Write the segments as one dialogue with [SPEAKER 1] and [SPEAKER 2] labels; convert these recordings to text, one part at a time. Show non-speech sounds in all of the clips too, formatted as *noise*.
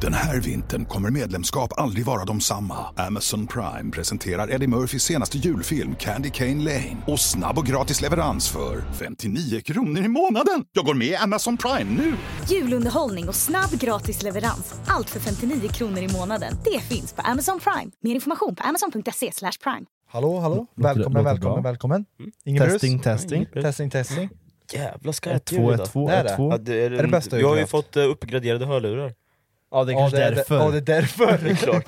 [SPEAKER 1] Den här vintern kommer medlemskap aldrig vara de samma. Amazon Prime presenterar Eddie Murphys senaste julfilm Candy Cane Lane. Och snabb och gratis leverans för 59 kronor i månaden. Jag går med i Amazon Prime nu!
[SPEAKER 2] Julunderhållning och snabb gratis leverans. Allt för 59 kronor i månaden. Det finns på Amazon Prime. Mer information på amazon.se slash prime.
[SPEAKER 3] Hallå, hallå.
[SPEAKER 4] Låter-
[SPEAKER 3] välkommen,
[SPEAKER 4] låter
[SPEAKER 3] välkommen,
[SPEAKER 4] bra.
[SPEAKER 3] välkommen. Mm. Ingen
[SPEAKER 4] Testing, testing.
[SPEAKER 3] brus. Testing, testing.
[SPEAKER 5] Jävla skarpt ljud
[SPEAKER 4] 1-2,
[SPEAKER 5] idag.
[SPEAKER 4] 1-2,
[SPEAKER 3] Det är det.
[SPEAKER 4] 1-2.
[SPEAKER 5] Ja, det är,
[SPEAKER 3] Är det bästa
[SPEAKER 5] Vi har ju
[SPEAKER 3] ljudkraft?
[SPEAKER 5] fått eh, uppgraderade hörlurar.
[SPEAKER 4] Ja, det är
[SPEAKER 3] Ja,
[SPEAKER 4] kanske
[SPEAKER 3] det är
[SPEAKER 4] därför.
[SPEAKER 3] Ja, det är därför.
[SPEAKER 5] Det är klart.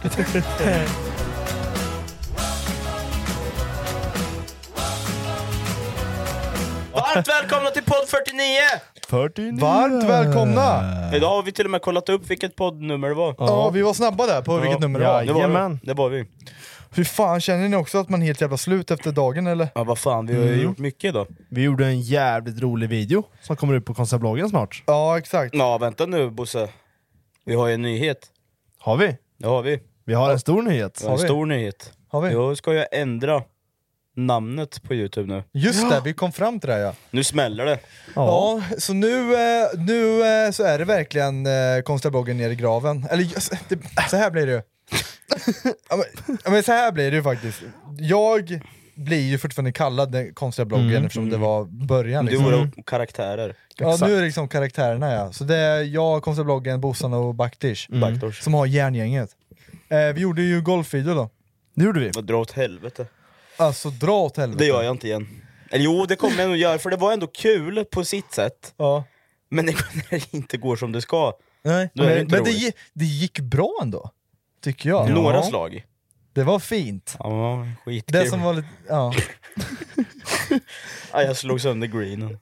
[SPEAKER 5] Varmt välkomna till podd 49!
[SPEAKER 4] 49.
[SPEAKER 3] Varmt välkomna!
[SPEAKER 5] Idag har vi till och med kollat upp vilket poddnummer det var.
[SPEAKER 3] Äh. Ja, vi var snabba där på vilket nummer det var.
[SPEAKER 5] det var,
[SPEAKER 4] Jajamän.
[SPEAKER 5] vi. det var vi.
[SPEAKER 3] Fy fan, känner ni också att man är helt jävla slut efter dagen eller?
[SPEAKER 5] Ja vad fan, vi har
[SPEAKER 3] Mm.
[SPEAKER 5] ju gjort mycket idag.
[SPEAKER 4] Vi gjorde en jävligt rolig video som kommer ut på konceptbloggen snart.
[SPEAKER 3] Ja, exakt.
[SPEAKER 5] Ja vänta nu Bosse. Vi har ju en nyhet.
[SPEAKER 4] Har vi?
[SPEAKER 5] Det har vi.
[SPEAKER 4] Vi har en stor nyhet.
[SPEAKER 5] Det var en
[SPEAKER 3] vi?
[SPEAKER 5] stor nyhet.
[SPEAKER 3] Har vi?
[SPEAKER 5] Jag ska ju ändra namnet på youtube nu.
[SPEAKER 3] Just det, vi kom fram till det ja.
[SPEAKER 5] Nu smäller det.
[SPEAKER 3] Ja, så nu, eh, nu eh, så är det verkligen eh, konstiga bloggen ner i graven. Eller just- det, så här blir det ju. ja, men, ja, men så här blir det ju faktiskt. Jag blir ju fortfarande kallad den konstiga bloggen
[SPEAKER 4] Mm.
[SPEAKER 3] eftersom det var början.
[SPEAKER 5] Du
[SPEAKER 3] Liksom.
[SPEAKER 5] och våra karaktärer.
[SPEAKER 3] ja, nu är det liksom karaktärerna ja. Så det är jag, konstiga bloggen, Bossan och Baktish
[SPEAKER 5] Backdoors.
[SPEAKER 3] som har järngänget. Eh, vi gjorde ju golfvideo då.
[SPEAKER 4] Det gjorde vi.
[SPEAKER 5] Vad dra åt helvete.
[SPEAKER 3] Alltså dra åt helvete.
[SPEAKER 5] Det gör jag inte igen. Eller jo, det kommer jag nog göra, för det var ändå kul på sitt sätt.
[SPEAKER 3] Ja.
[SPEAKER 5] Men det- när det *laughs* inte går som det ska.
[SPEAKER 3] Nej.
[SPEAKER 5] Då är det
[SPEAKER 3] Men,
[SPEAKER 5] inte
[SPEAKER 3] men det,
[SPEAKER 5] roligt.
[SPEAKER 3] gi- det gick bra ändå. Tycker jag.
[SPEAKER 5] Några slag.
[SPEAKER 3] Det var fint.
[SPEAKER 5] Ja, skitkul.
[SPEAKER 3] Det som var lite, ja.
[SPEAKER 5] Ja, jag slog sönder greenen.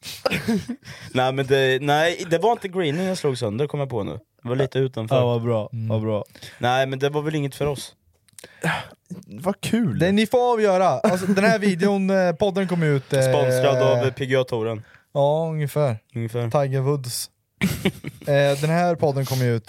[SPEAKER 4] *laughs*
[SPEAKER 5] nej, men det, nej, det var inte greenen jag slog sönder, kom jag på nu. Det var lite utanför.
[SPEAKER 4] Ja, vad bra. Vad bra.
[SPEAKER 5] Nej, men det var väl inget för oss.
[SPEAKER 4] Vad kul!
[SPEAKER 3] Mm. Det ni får avgöra. Alltså, den här videon, eh, podden kom ut... Eh,
[SPEAKER 5] Sponsrad av PGA-touren,
[SPEAKER 3] Ja, ungefär.
[SPEAKER 5] ungefär. *laughs*
[SPEAKER 3] Tiger Woods. eh, den här podden kom ju ut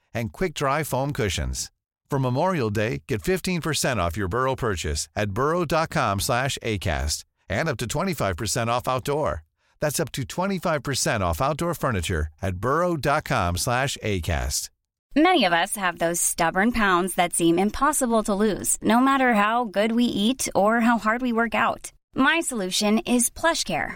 [SPEAKER 6] and quick-dry foam cushions. For Memorial Day, get 15% off your Burrow purchase at burrow.com/acast and up to 25% off outdoor. That's up to 25% off outdoor furniture at burrow.com/acast.
[SPEAKER 7] Many of us have those stubborn pounds that seem impossible to lose, no matter how good we eat or how hard we work out. My solution is PlushCare.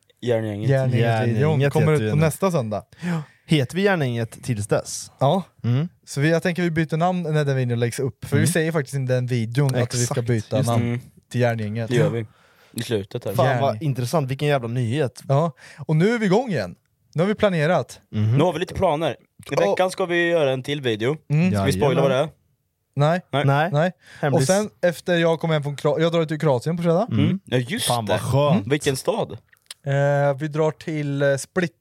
[SPEAKER 5] Järngänget.
[SPEAKER 3] Järngänget-videon
[SPEAKER 4] Järngänget
[SPEAKER 3] kommer
[SPEAKER 4] heter
[SPEAKER 3] ut på
[SPEAKER 4] den.
[SPEAKER 3] nästa söndag.
[SPEAKER 4] Heter vi gärna inget tills dess?
[SPEAKER 3] Ja. Mm. Så vi, jag tänker vi byter namn när den videon läggs upp, för vi säger faktiskt i den videon att vi ska
[SPEAKER 4] Exakt,
[SPEAKER 3] byta
[SPEAKER 4] just det.
[SPEAKER 3] namn
[SPEAKER 5] Mm,
[SPEAKER 3] till Järngänget.
[SPEAKER 5] det gör vi. I slutet här.
[SPEAKER 4] Fan
[SPEAKER 3] Järn.
[SPEAKER 4] vad intressant, vilken jävla nyhet.
[SPEAKER 3] Ja. Och nu är vi igång igen. Nu har vi planerat.
[SPEAKER 5] Nu har vi lite planer. I
[SPEAKER 3] Ja.
[SPEAKER 5] veckan ska vi göra en till video. Ska vi
[SPEAKER 4] Jajamän.
[SPEAKER 5] spoila vad det är?
[SPEAKER 3] Mm. Nej.
[SPEAKER 5] Nej.
[SPEAKER 4] Nej.
[SPEAKER 3] Nej.
[SPEAKER 4] Hemlis.
[SPEAKER 3] Och sen efter jag kom hem från Kroatien, jag drar till Kroatien på fredag.
[SPEAKER 5] Mm. Ja just
[SPEAKER 4] Fan
[SPEAKER 5] det. Mm.
[SPEAKER 4] vad skönt.
[SPEAKER 5] Vilken stad?
[SPEAKER 3] Eh, vi drar till eh, Split.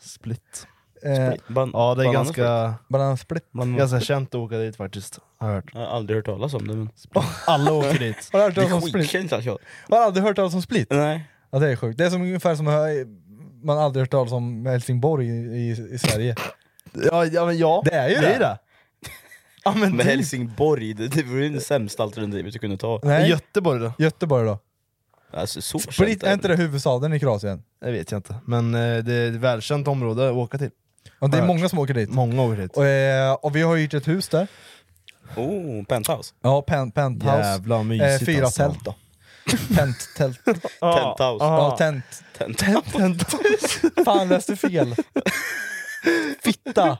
[SPEAKER 4] Split.
[SPEAKER 3] Eh,
[SPEAKER 5] Ban-
[SPEAKER 4] Ja det är
[SPEAKER 5] bananer-
[SPEAKER 4] ganska,
[SPEAKER 3] Banan Split.
[SPEAKER 5] Man, jag
[SPEAKER 4] ganska känt att åka dit faktiskt. Har jag hört.
[SPEAKER 5] har aldrig hört talas om det men...
[SPEAKER 3] Oh.
[SPEAKER 4] Alla åker
[SPEAKER 3] *laughs*
[SPEAKER 4] dit.
[SPEAKER 3] Har du hört
[SPEAKER 5] Det
[SPEAKER 3] talas
[SPEAKER 5] är
[SPEAKER 3] om Split?
[SPEAKER 5] skitkänt alltså.
[SPEAKER 3] Har du aldrig hört talas om Split?
[SPEAKER 5] Nej.
[SPEAKER 3] Ja det är sjukt. Det är som ungefär som eh, man aldrig hört talas om Helsingborg i, i, i Sverige.
[SPEAKER 4] Ja, ja men ja.
[SPEAKER 3] Det är ju det.
[SPEAKER 4] Ja, men
[SPEAKER 5] Men
[SPEAKER 4] typ.
[SPEAKER 5] Helsingborg, det, det vore ju det sämsta alternativet du kunde ta.
[SPEAKER 3] Nej.
[SPEAKER 4] Göteborg då?
[SPEAKER 3] Göteborg då?
[SPEAKER 5] Alltså så
[SPEAKER 3] Split,
[SPEAKER 5] känt
[SPEAKER 3] är inte
[SPEAKER 5] det.
[SPEAKER 3] det huvudstaden i Kroatien?
[SPEAKER 4] Det vet jag inte, men eh, det är ett välkänt område att åka till.
[SPEAKER 3] Och det är
[SPEAKER 4] Har jag
[SPEAKER 3] många som åker dit.
[SPEAKER 4] Många åker dit.
[SPEAKER 3] Och, eh, och vi har hyrt ett hus där.
[SPEAKER 5] Oh, penthouse.
[SPEAKER 3] Ja, pen, penthouse.
[SPEAKER 4] Jävlar vad mysigt
[SPEAKER 3] Eh, fyra
[SPEAKER 4] alltså. Ah.
[SPEAKER 3] tält då.
[SPEAKER 5] *laughs*
[SPEAKER 3] Tent-tält.
[SPEAKER 5] Penthouse.
[SPEAKER 3] ja, tent.
[SPEAKER 5] Penthouse.
[SPEAKER 3] Fan läste fel.
[SPEAKER 5] Fitta!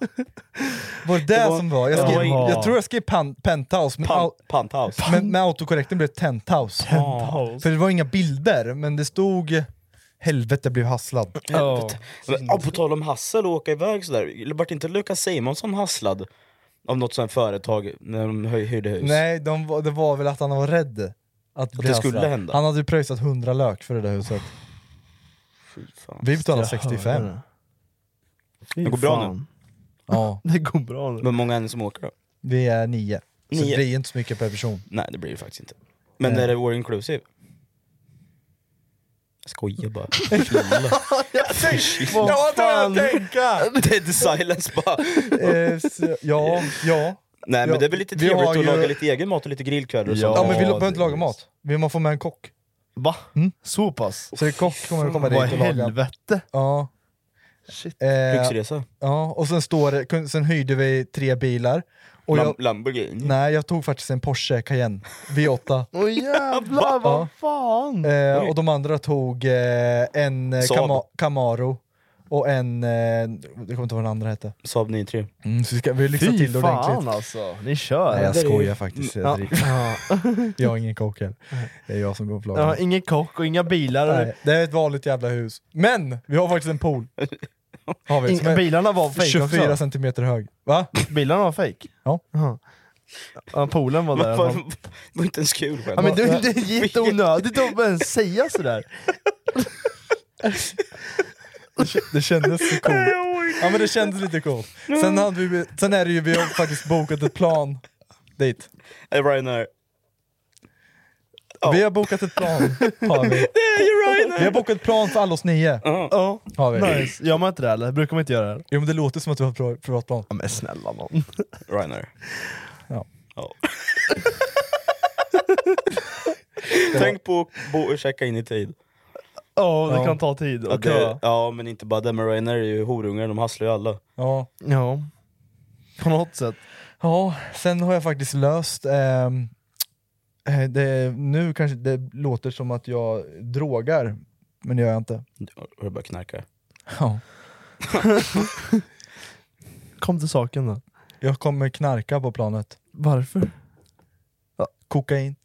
[SPEAKER 3] Var det det
[SPEAKER 5] var-
[SPEAKER 3] som var? Jag,
[SPEAKER 5] det
[SPEAKER 3] skrev,
[SPEAKER 5] var in-
[SPEAKER 3] jag tror jag skrev pan, penthouse, men,
[SPEAKER 5] Pan,
[SPEAKER 3] au,
[SPEAKER 5] panthouse.
[SPEAKER 3] men med autokorrekten blev det tenthouse. För det var inga bilder, men det stod helvete blev hasslad.
[SPEAKER 4] Ja.
[SPEAKER 5] Men, ja, på tal om hassel och åka iväg sådär, vart inte Lukas Simonsson hasslad av något sånt företag när de hy- hyrde hus?
[SPEAKER 3] Nej, de, var- det var väl att han var rädd att, bli
[SPEAKER 5] det skulle
[SPEAKER 3] hasslad.
[SPEAKER 5] hända.
[SPEAKER 3] Han hade ju pröjsat 100 lök för det där huset.
[SPEAKER 5] Fy fan.
[SPEAKER 3] Vi betalade
[SPEAKER 4] Jag
[SPEAKER 3] 65.
[SPEAKER 4] hörde Fy
[SPEAKER 5] Det går bra
[SPEAKER 4] fan.
[SPEAKER 3] Ja,
[SPEAKER 4] *laughs* Det går bra nu.
[SPEAKER 5] Men många är det som åker då?
[SPEAKER 3] vi är nio. Så
[SPEAKER 5] Nio.
[SPEAKER 3] det blir inte så mycket per person.
[SPEAKER 5] Nej det blir det faktiskt inte. Men
[SPEAKER 3] Nej.
[SPEAKER 5] är det all inclusive? Jag skojar bara. Lilla.
[SPEAKER 3] Vad
[SPEAKER 5] *laughs*
[SPEAKER 4] fan?
[SPEAKER 3] tänka!
[SPEAKER 5] Dead silence bara.
[SPEAKER 3] Eh, så, ja, ja.
[SPEAKER 5] Nej men
[SPEAKER 3] Ja,
[SPEAKER 5] det är väl lite
[SPEAKER 3] vi har
[SPEAKER 5] trevligt att
[SPEAKER 3] ju-
[SPEAKER 5] laga lite egen mat och lite grillkvällar och
[SPEAKER 4] Ja.
[SPEAKER 3] Ja
[SPEAKER 5] sånt.
[SPEAKER 3] men vi
[SPEAKER 4] det
[SPEAKER 3] behöver inte laga
[SPEAKER 4] är-
[SPEAKER 3] mat, vi man får med en kock. Mm?
[SPEAKER 4] Va? Så pass?
[SPEAKER 3] Så en kock kommer att komma
[SPEAKER 4] Vad
[SPEAKER 3] dit
[SPEAKER 4] i
[SPEAKER 3] och laga.
[SPEAKER 4] helvete?
[SPEAKER 3] Ja.
[SPEAKER 4] Shit.
[SPEAKER 3] Eh,
[SPEAKER 5] Lyxresa.
[SPEAKER 3] ja, och sen, står det, kun- sen hyrde vi tre bilar. Och
[SPEAKER 5] Lam-
[SPEAKER 3] jag,
[SPEAKER 5] Lamborghini.
[SPEAKER 3] nej, jag tog faktiskt en Porsche Cayenne V8.
[SPEAKER 4] Åh
[SPEAKER 3] *laughs*
[SPEAKER 4] jävlar, vad fan!
[SPEAKER 3] Eh, och de andra tog eh, en eh,
[SPEAKER 5] Saab.
[SPEAKER 3] Cama- Camaro och en... Eh, jag kommer inte ihåg vad den andra hette.
[SPEAKER 5] Saab 93.
[SPEAKER 3] Mm, så vi ska vi lyxa
[SPEAKER 4] Fy
[SPEAKER 3] till det
[SPEAKER 4] fan
[SPEAKER 3] ordentligt.
[SPEAKER 4] alltså, ni kör!
[SPEAKER 3] Nej, jag
[SPEAKER 4] alltså.
[SPEAKER 3] skojar faktiskt. Jag, driver.
[SPEAKER 4] Ja.
[SPEAKER 3] *laughs* jag har ingen kock heller. Det är jag som går på
[SPEAKER 4] Jag har
[SPEAKER 3] lagen.
[SPEAKER 4] ingen kock och inga bilar.
[SPEAKER 3] Nej, Det är ett vanligt jävla hus. Men! Vi har faktiskt
[SPEAKER 4] *laughs*
[SPEAKER 3] en pool. Har vi, som
[SPEAKER 4] Inga,
[SPEAKER 3] är-
[SPEAKER 4] bilarna var fake
[SPEAKER 3] 24
[SPEAKER 4] också.
[SPEAKER 3] centimeter hög. Va?
[SPEAKER 4] Bilarna var fake.
[SPEAKER 3] Ja.
[SPEAKER 4] Jaha. Ja, poolen var där.
[SPEAKER 5] Vad fan, Det var inte ens kul
[SPEAKER 4] Ja,
[SPEAKER 5] skämt.
[SPEAKER 4] men det, det är jätteonödigt att ens säga sådär.
[SPEAKER 3] Det kändes så
[SPEAKER 4] *laughs*
[SPEAKER 3] coolt.
[SPEAKER 4] Oh
[SPEAKER 3] Ja men det kändes lite coolt. Sen, hade vi, sen är det ju, vi har faktiskt bokat ett plan dit.
[SPEAKER 5] Eh, Ryanair.
[SPEAKER 3] Vi har bokat ett plan,
[SPEAKER 4] *laughs*
[SPEAKER 3] har vi. Vi har bokat ett plan för alla oss nio.
[SPEAKER 4] Ja,
[SPEAKER 3] Har vi.
[SPEAKER 4] nice. Gör man inte det eller? Brukar man inte göra det?
[SPEAKER 3] Jo men det låter som att du har ett pri- privat plan.
[SPEAKER 4] Ja, men snälla nån.
[SPEAKER 5] Ryanair.
[SPEAKER 3] Ja. *laughs*
[SPEAKER 5] Ja. Tänk på att bo och checka in i tid.
[SPEAKER 4] Ja, det
[SPEAKER 3] Ja.
[SPEAKER 4] kan ta tid och
[SPEAKER 5] Att det,
[SPEAKER 4] köa.
[SPEAKER 5] ja men inte bara det, men Ryanair är ju horungar, de hasslar ju alla.
[SPEAKER 3] Ja.
[SPEAKER 4] Ja. På något sätt.
[SPEAKER 3] ja, sen har jag faktiskt löst... ehm, eh, det, nu kanske det låter som att jag drogar, men det gör jag inte.
[SPEAKER 5] Har du börjat knarka?
[SPEAKER 3] Ja.
[SPEAKER 4] Kom till saken då.
[SPEAKER 3] Jag kommer knarka på planet.
[SPEAKER 4] Varför?
[SPEAKER 3] Kokain.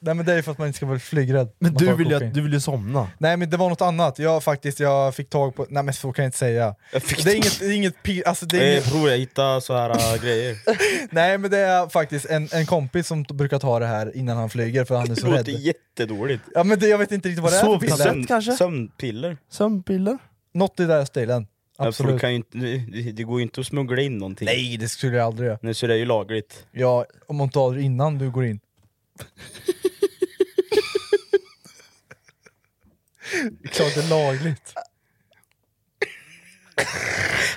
[SPEAKER 3] Nej men det är för att man inte ska vara flygrädd.
[SPEAKER 4] Men
[SPEAKER 3] Man tar
[SPEAKER 4] du vill, ju,
[SPEAKER 3] kokain.
[SPEAKER 4] att- du vill ju somna.
[SPEAKER 3] Nej men det var något annat, jag faktiskt, jag fick tag på... Nej men så kan jag inte säga.
[SPEAKER 5] Jag fick
[SPEAKER 3] Det är inget, det är inget, pi- alltså det är
[SPEAKER 5] Eh,
[SPEAKER 3] inget
[SPEAKER 5] bror jag hittade så här äh,
[SPEAKER 3] *laughs*
[SPEAKER 5] grejer.
[SPEAKER 3] Nej men det är faktiskt en, en kompis som t- brukar ta det här innan han flyger för han är
[SPEAKER 5] Det
[SPEAKER 3] så
[SPEAKER 5] låter
[SPEAKER 3] rädd.
[SPEAKER 5] jättedåligt.
[SPEAKER 3] Ja men det, jag vet inte riktigt vad det är för
[SPEAKER 4] Sovtablett.
[SPEAKER 3] piller.
[SPEAKER 4] Lätt kanske?
[SPEAKER 5] Sömnpiller?
[SPEAKER 4] Sömnpiller?
[SPEAKER 3] Något i den här stilen.
[SPEAKER 5] Ja, för du
[SPEAKER 3] Absolut.
[SPEAKER 5] kan ju inte, det- det går ju inte att smuggla in någonting.
[SPEAKER 3] Nej det skulle jag aldrig göra.
[SPEAKER 5] Nu så det är ju lagligt.
[SPEAKER 3] Ja, om man tar det innan
[SPEAKER 5] *laughs*
[SPEAKER 3] du går in. Det är Klart det är lagligt.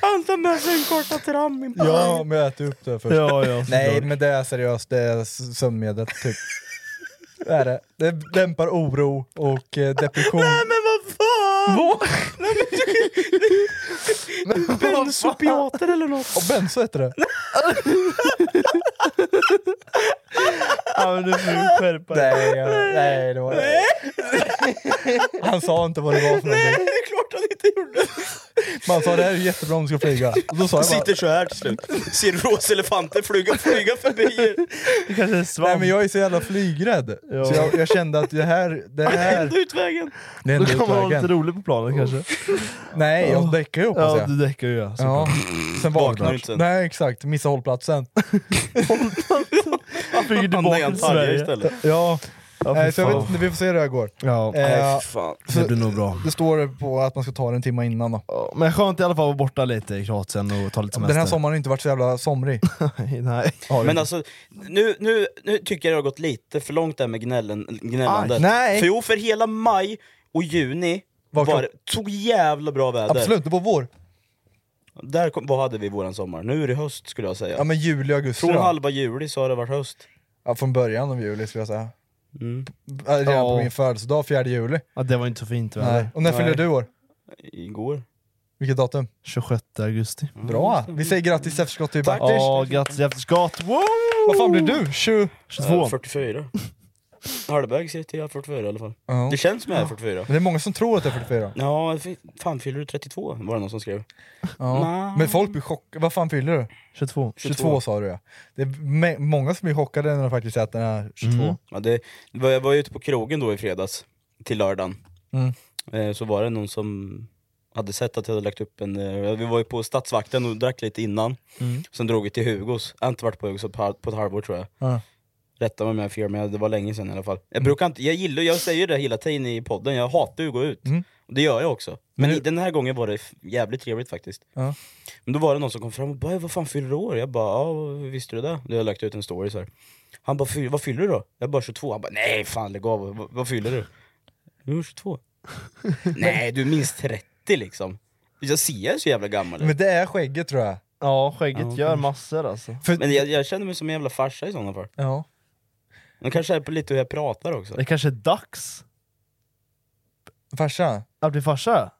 [SPEAKER 5] Han tar med sig en korta tram.
[SPEAKER 3] Ja men jag äter upp det först.
[SPEAKER 4] Ja, ja.
[SPEAKER 3] Nej men det är seriöst, det är s- sömnmedel typ. Det är det. Det dämpar oro och eh, depression.
[SPEAKER 5] Men vad fan! Benzopiater eller något.
[SPEAKER 3] Och benzo heter det.
[SPEAKER 4] Ja, men du får *laughs* ju skärpa dig.
[SPEAKER 3] Nej, jag, nej det var det. Han sa inte vad det var för någonting.
[SPEAKER 5] Det är klart han inte gjorde.
[SPEAKER 3] Man sa det här är jättebra om du ska flyga. Och då sa jag
[SPEAKER 5] Sitter
[SPEAKER 3] bara,
[SPEAKER 5] så här till slut. Ser rosa flyga, flyga förbi er.
[SPEAKER 4] Det kanske är en svamp.
[SPEAKER 3] nej men jag är så jävla flygrädd. Så jag, jag kände att det här, det här,
[SPEAKER 5] Enda utvägen.
[SPEAKER 3] det är
[SPEAKER 4] Då
[SPEAKER 3] ändå
[SPEAKER 4] kan man ha lite
[SPEAKER 3] utvägen.
[SPEAKER 4] roligt på planet kanske.
[SPEAKER 3] Nej, jag däckar ju hoppas
[SPEAKER 4] Ja,
[SPEAKER 3] jag.
[SPEAKER 4] du däckar ju. ja, så.
[SPEAKER 3] Ja. Sen
[SPEAKER 5] Vaknar
[SPEAKER 3] vaknar
[SPEAKER 5] du inte sen?
[SPEAKER 3] Nej exakt, missa hållplatsen.
[SPEAKER 4] *laughs* Han flyger
[SPEAKER 5] Han är
[SPEAKER 4] tillbaka
[SPEAKER 5] en
[SPEAKER 4] till
[SPEAKER 5] talje
[SPEAKER 4] Sverige.
[SPEAKER 5] istället.
[SPEAKER 3] Ja,
[SPEAKER 4] Ja, fy
[SPEAKER 3] nej, så jag
[SPEAKER 4] fan.
[SPEAKER 3] vet, inte, vi får se hur det här går.
[SPEAKER 4] Ja,
[SPEAKER 3] Eh,
[SPEAKER 5] Fan.
[SPEAKER 4] det blir nog bra.
[SPEAKER 3] det står på att man ska ta det en timme innan då.
[SPEAKER 4] Ja, Men skönt i alla fall att vara borta lite i Kroatien och ta lite semester.
[SPEAKER 3] Den här sommaren har inte varit så jävla somrig.
[SPEAKER 4] *laughs* Nej.
[SPEAKER 5] Men alltså, nu, nu, nu tycker jag det har gått lite för långt där med gnällen, gnällandet.
[SPEAKER 3] Aj, nej.
[SPEAKER 5] För jo, för hela maj och juni
[SPEAKER 3] Var
[SPEAKER 5] var,
[SPEAKER 3] klart.
[SPEAKER 5] det så jävla bra väder.
[SPEAKER 3] Absolut, det var vår.
[SPEAKER 5] Där kom, vad hade vi våran sommar? Nu är det höst skulle jag säga.
[SPEAKER 3] Ja men juli, augusti
[SPEAKER 5] Från
[SPEAKER 3] då.
[SPEAKER 5] halva juli så har det varit höst.
[SPEAKER 3] Ja, från början av juli skulle jag säga.
[SPEAKER 5] Mm.
[SPEAKER 3] B- äh, Redan på
[SPEAKER 4] Ja.
[SPEAKER 3] min födelsedag, 4 juli.
[SPEAKER 4] Ja, det var inte så fint
[SPEAKER 3] Nej.
[SPEAKER 4] väder.
[SPEAKER 3] Och när fyller
[SPEAKER 4] Nej.
[SPEAKER 3] du år?
[SPEAKER 5] Igår.
[SPEAKER 3] Vilket datum?
[SPEAKER 4] 26 augusti.
[SPEAKER 3] Bra! Vi säger grattis efterskott till
[SPEAKER 5] Tack.
[SPEAKER 3] Backlash.
[SPEAKER 4] Ja, grattis efterskott! Wow!
[SPEAKER 3] Eh,
[SPEAKER 5] *laughs*
[SPEAKER 3] Vad fan blir du? 20...
[SPEAKER 4] 22.
[SPEAKER 5] Äh, 44. Halvvägs till jag är 44 i alla fall.
[SPEAKER 3] Ja.
[SPEAKER 5] Det känns som jag är 44.
[SPEAKER 3] Men det är många som tror att det är 44.
[SPEAKER 5] Ja, fy- fan fyller du 32? Var det någon som skrev.
[SPEAKER 3] Ja. Men folk blir chockade. Vad fan fyller du?
[SPEAKER 4] 22.
[SPEAKER 3] 22, sa du ja. Det är me- många som blir chockade när de faktiskt säger att den är 22.
[SPEAKER 5] Ja, det, det var- jag var ju ute på krogen då i fredags, till lördagen.
[SPEAKER 3] Mm.
[SPEAKER 5] Eh, så var det någon som hade sett att jag hade lagt upp en... Eh, vi var ju på Stadsvakten och drack lite innan. Sen drog vi till Hugos. Jag har inte varit på Hugos på, på ett halvår tror jag.
[SPEAKER 3] Ja. Mm.
[SPEAKER 5] Rätta mig om jag har fel, men det var länge sedan i alla fall. Jag brukar inte, jag gillar, jag säger det hela tiden i podden, jag hatar ju att gå ut.
[SPEAKER 3] Mm.
[SPEAKER 5] Och det gör jag också. Men i, den här gången var det f- jävligt trevligt faktiskt.
[SPEAKER 3] Ja.
[SPEAKER 5] Men då var det någon som kom fram och bara “Vad fan fyller du år?” Jag bara “Ja, hur visste du det?” Då har jag lagt ut en story så här. Han bara "Fy- “Vad fyller du då?” Jag bara “22” Han bara “Nej fan lägg av, vad, vad fyller du?” “Jo
[SPEAKER 3] *laughs*
[SPEAKER 5] 22” “Nej du är minst 30 liksom” Jag ser ju så jävla gammal ut.
[SPEAKER 3] Men det är skägget tror jag.
[SPEAKER 4] Ja, skägget gör massor alltså.
[SPEAKER 3] För,
[SPEAKER 5] Men jag, jag känner mig som en jävla farsa i sådana fall.
[SPEAKER 3] ja.
[SPEAKER 5] Men kanske är på lite hur jag pratar också.
[SPEAKER 4] Det kanske är dags
[SPEAKER 3] Farsa,
[SPEAKER 4] att bli farsa?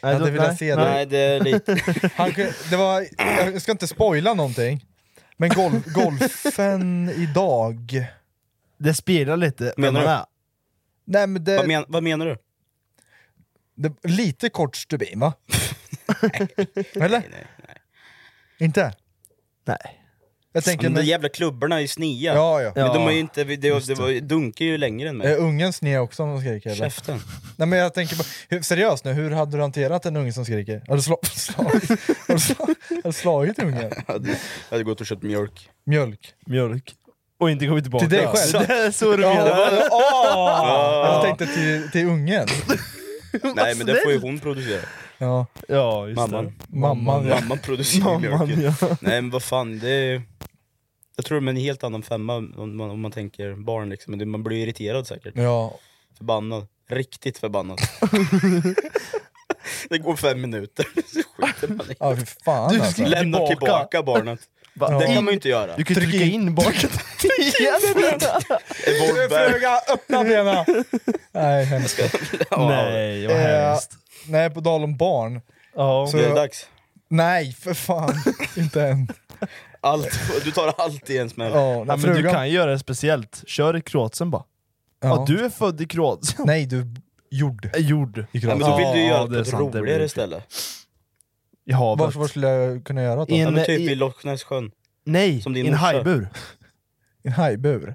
[SPEAKER 3] jag hade
[SPEAKER 4] då-
[SPEAKER 3] velat
[SPEAKER 4] nej.
[SPEAKER 3] se dig.
[SPEAKER 5] Nej det är
[SPEAKER 3] *laughs*
[SPEAKER 5] lite...
[SPEAKER 3] Han, kunde- det var, jag ska inte spoila någonting, men golf, golfen idag...
[SPEAKER 4] Det speglar lite vem
[SPEAKER 5] Menar
[SPEAKER 4] man
[SPEAKER 5] du?
[SPEAKER 4] är.
[SPEAKER 3] Nej, men
[SPEAKER 5] vad,
[SPEAKER 3] det,
[SPEAKER 5] men, vad menar du?
[SPEAKER 3] det, lite kort stubin va? Eller?
[SPEAKER 5] nej,
[SPEAKER 3] Inte?
[SPEAKER 4] Nej.
[SPEAKER 3] Jag tänker...
[SPEAKER 5] De där
[SPEAKER 3] Men,
[SPEAKER 5] jävla klubborna är sniga.
[SPEAKER 3] ja, ja.
[SPEAKER 5] Men de
[SPEAKER 4] Ja,
[SPEAKER 5] är ju inte, det, det, var, dunkar ju längre än mig.
[SPEAKER 3] Är Eh, ungen sned också om de skriker eller?
[SPEAKER 5] Käften.
[SPEAKER 3] Nej men jag tänker på, hur, seriöst nu, hur hade du hanterat en unge som skriker? Har du, slå, *laughs* slagit, har du, slå, har du slagit ungen?
[SPEAKER 5] *laughs* Jag hade, jag hade gått och köpt mjölk.
[SPEAKER 3] Mjölk?
[SPEAKER 4] Mjölk. Och inte kommit tillbaka.
[SPEAKER 3] Till dig själv?
[SPEAKER 4] Så- *laughs* Det är så du menar?
[SPEAKER 3] Jag tänkte till, till ungen.
[SPEAKER 5] Nej men det får ju hon producera.
[SPEAKER 3] Ja,
[SPEAKER 4] Ja, just det.
[SPEAKER 5] Mamman.
[SPEAKER 3] mamman. Ja.
[SPEAKER 5] Mamman producerar ju
[SPEAKER 4] Mamman,
[SPEAKER 5] mjölken.
[SPEAKER 4] ja.
[SPEAKER 5] Nej men vad fan, det är, Jag tror det är en helt annan femma om man, om man tänker barn liksom. Men det- Man blir irriterad säkert.
[SPEAKER 3] ja.
[SPEAKER 5] Förbannad. Riktigt
[SPEAKER 4] *laughs*
[SPEAKER 5] förbannad. det går fem
[SPEAKER 4] *laughs*
[SPEAKER 5] minuter, så skiter man i.
[SPEAKER 3] Ja, fy fan
[SPEAKER 4] Du
[SPEAKER 3] alltså.
[SPEAKER 4] skri-
[SPEAKER 5] Lämnar
[SPEAKER 4] Tillbaka.
[SPEAKER 5] tillbaka barnet.
[SPEAKER 4] Va-
[SPEAKER 5] Det kan
[SPEAKER 4] In-
[SPEAKER 5] man ju inte göra.
[SPEAKER 4] Du kan ju
[SPEAKER 3] Tryck
[SPEAKER 4] trycka
[SPEAKER 3] in.
[SPEAKER 4] in *laughs* bakåt igen!
[SPEAKER 5] Evolve back.
[SPEAKER 3] öppna benen! *laughs* Nej, hemskt.
[SPEAKER 5] Ja,
[SPEAKER 4] *laughs* Nej, vad
[SPEAKER 3] Eh,
[SPEAKER 4] hemskt.
[SPEAKER 3] Nej, på tal om barn.
[SPEAKER 4] Ja.
[SPEAKER 5] Det är dags.
[SPEAKER 3] Nej, för fan. Inte än.
[SPEAKER 5] Allt, du tar allt i en smäll.
[SPEAKER 3] Ja,
[SPEAKER 4] Ja, men du
[SPEAKER 3] frugan-
[SPEAKER 4] kan ju göra det speciellt. Kör i Kroatien bara.
[SPEAKER 3] Ja.
[SPEAKER 4] Ja. du är född i *laughs* Kroatien.
[SPEAKER 3] Nej, du gjord.
[SPEAKER 4] Är Gjord i Kroatien.
[SPEAKER 5] Nej, men då vill du ju
[SPEAKER 4] Ja,
[SPEAKER 5] göra det på
[SPEAKER 4] är
[SPEAKER 5] ett
[SPEAKER 4] sant, det blir
[SPEAKER 5] roligare
[SPEAKER 4] riktigt.
[SPEAKER 5] ställe.
[SPEAKER 4] I havet.
[SPEAKER 3] Var, var skulle jag kunna göra det
[SPEAKER 4] I
[SPEAKER 3] då?
[SPEAKER 5] Ja,
[SPEAKER 4] en,
[SPEAKER 5] men typ
[SPEAKER 4] i,
[SPEAKER 5] i Loch Ness sjön.
[SPEAKER 4] nej,
[SPEAKER 5] som
[SPEAKER 4] i
[SPEAKER 5] din
[SPEAKER 4] en
[SPEAKER 5] morsa.
[SPEAKER 4] hajbur.
[SPEAKER 3] I en hajbur?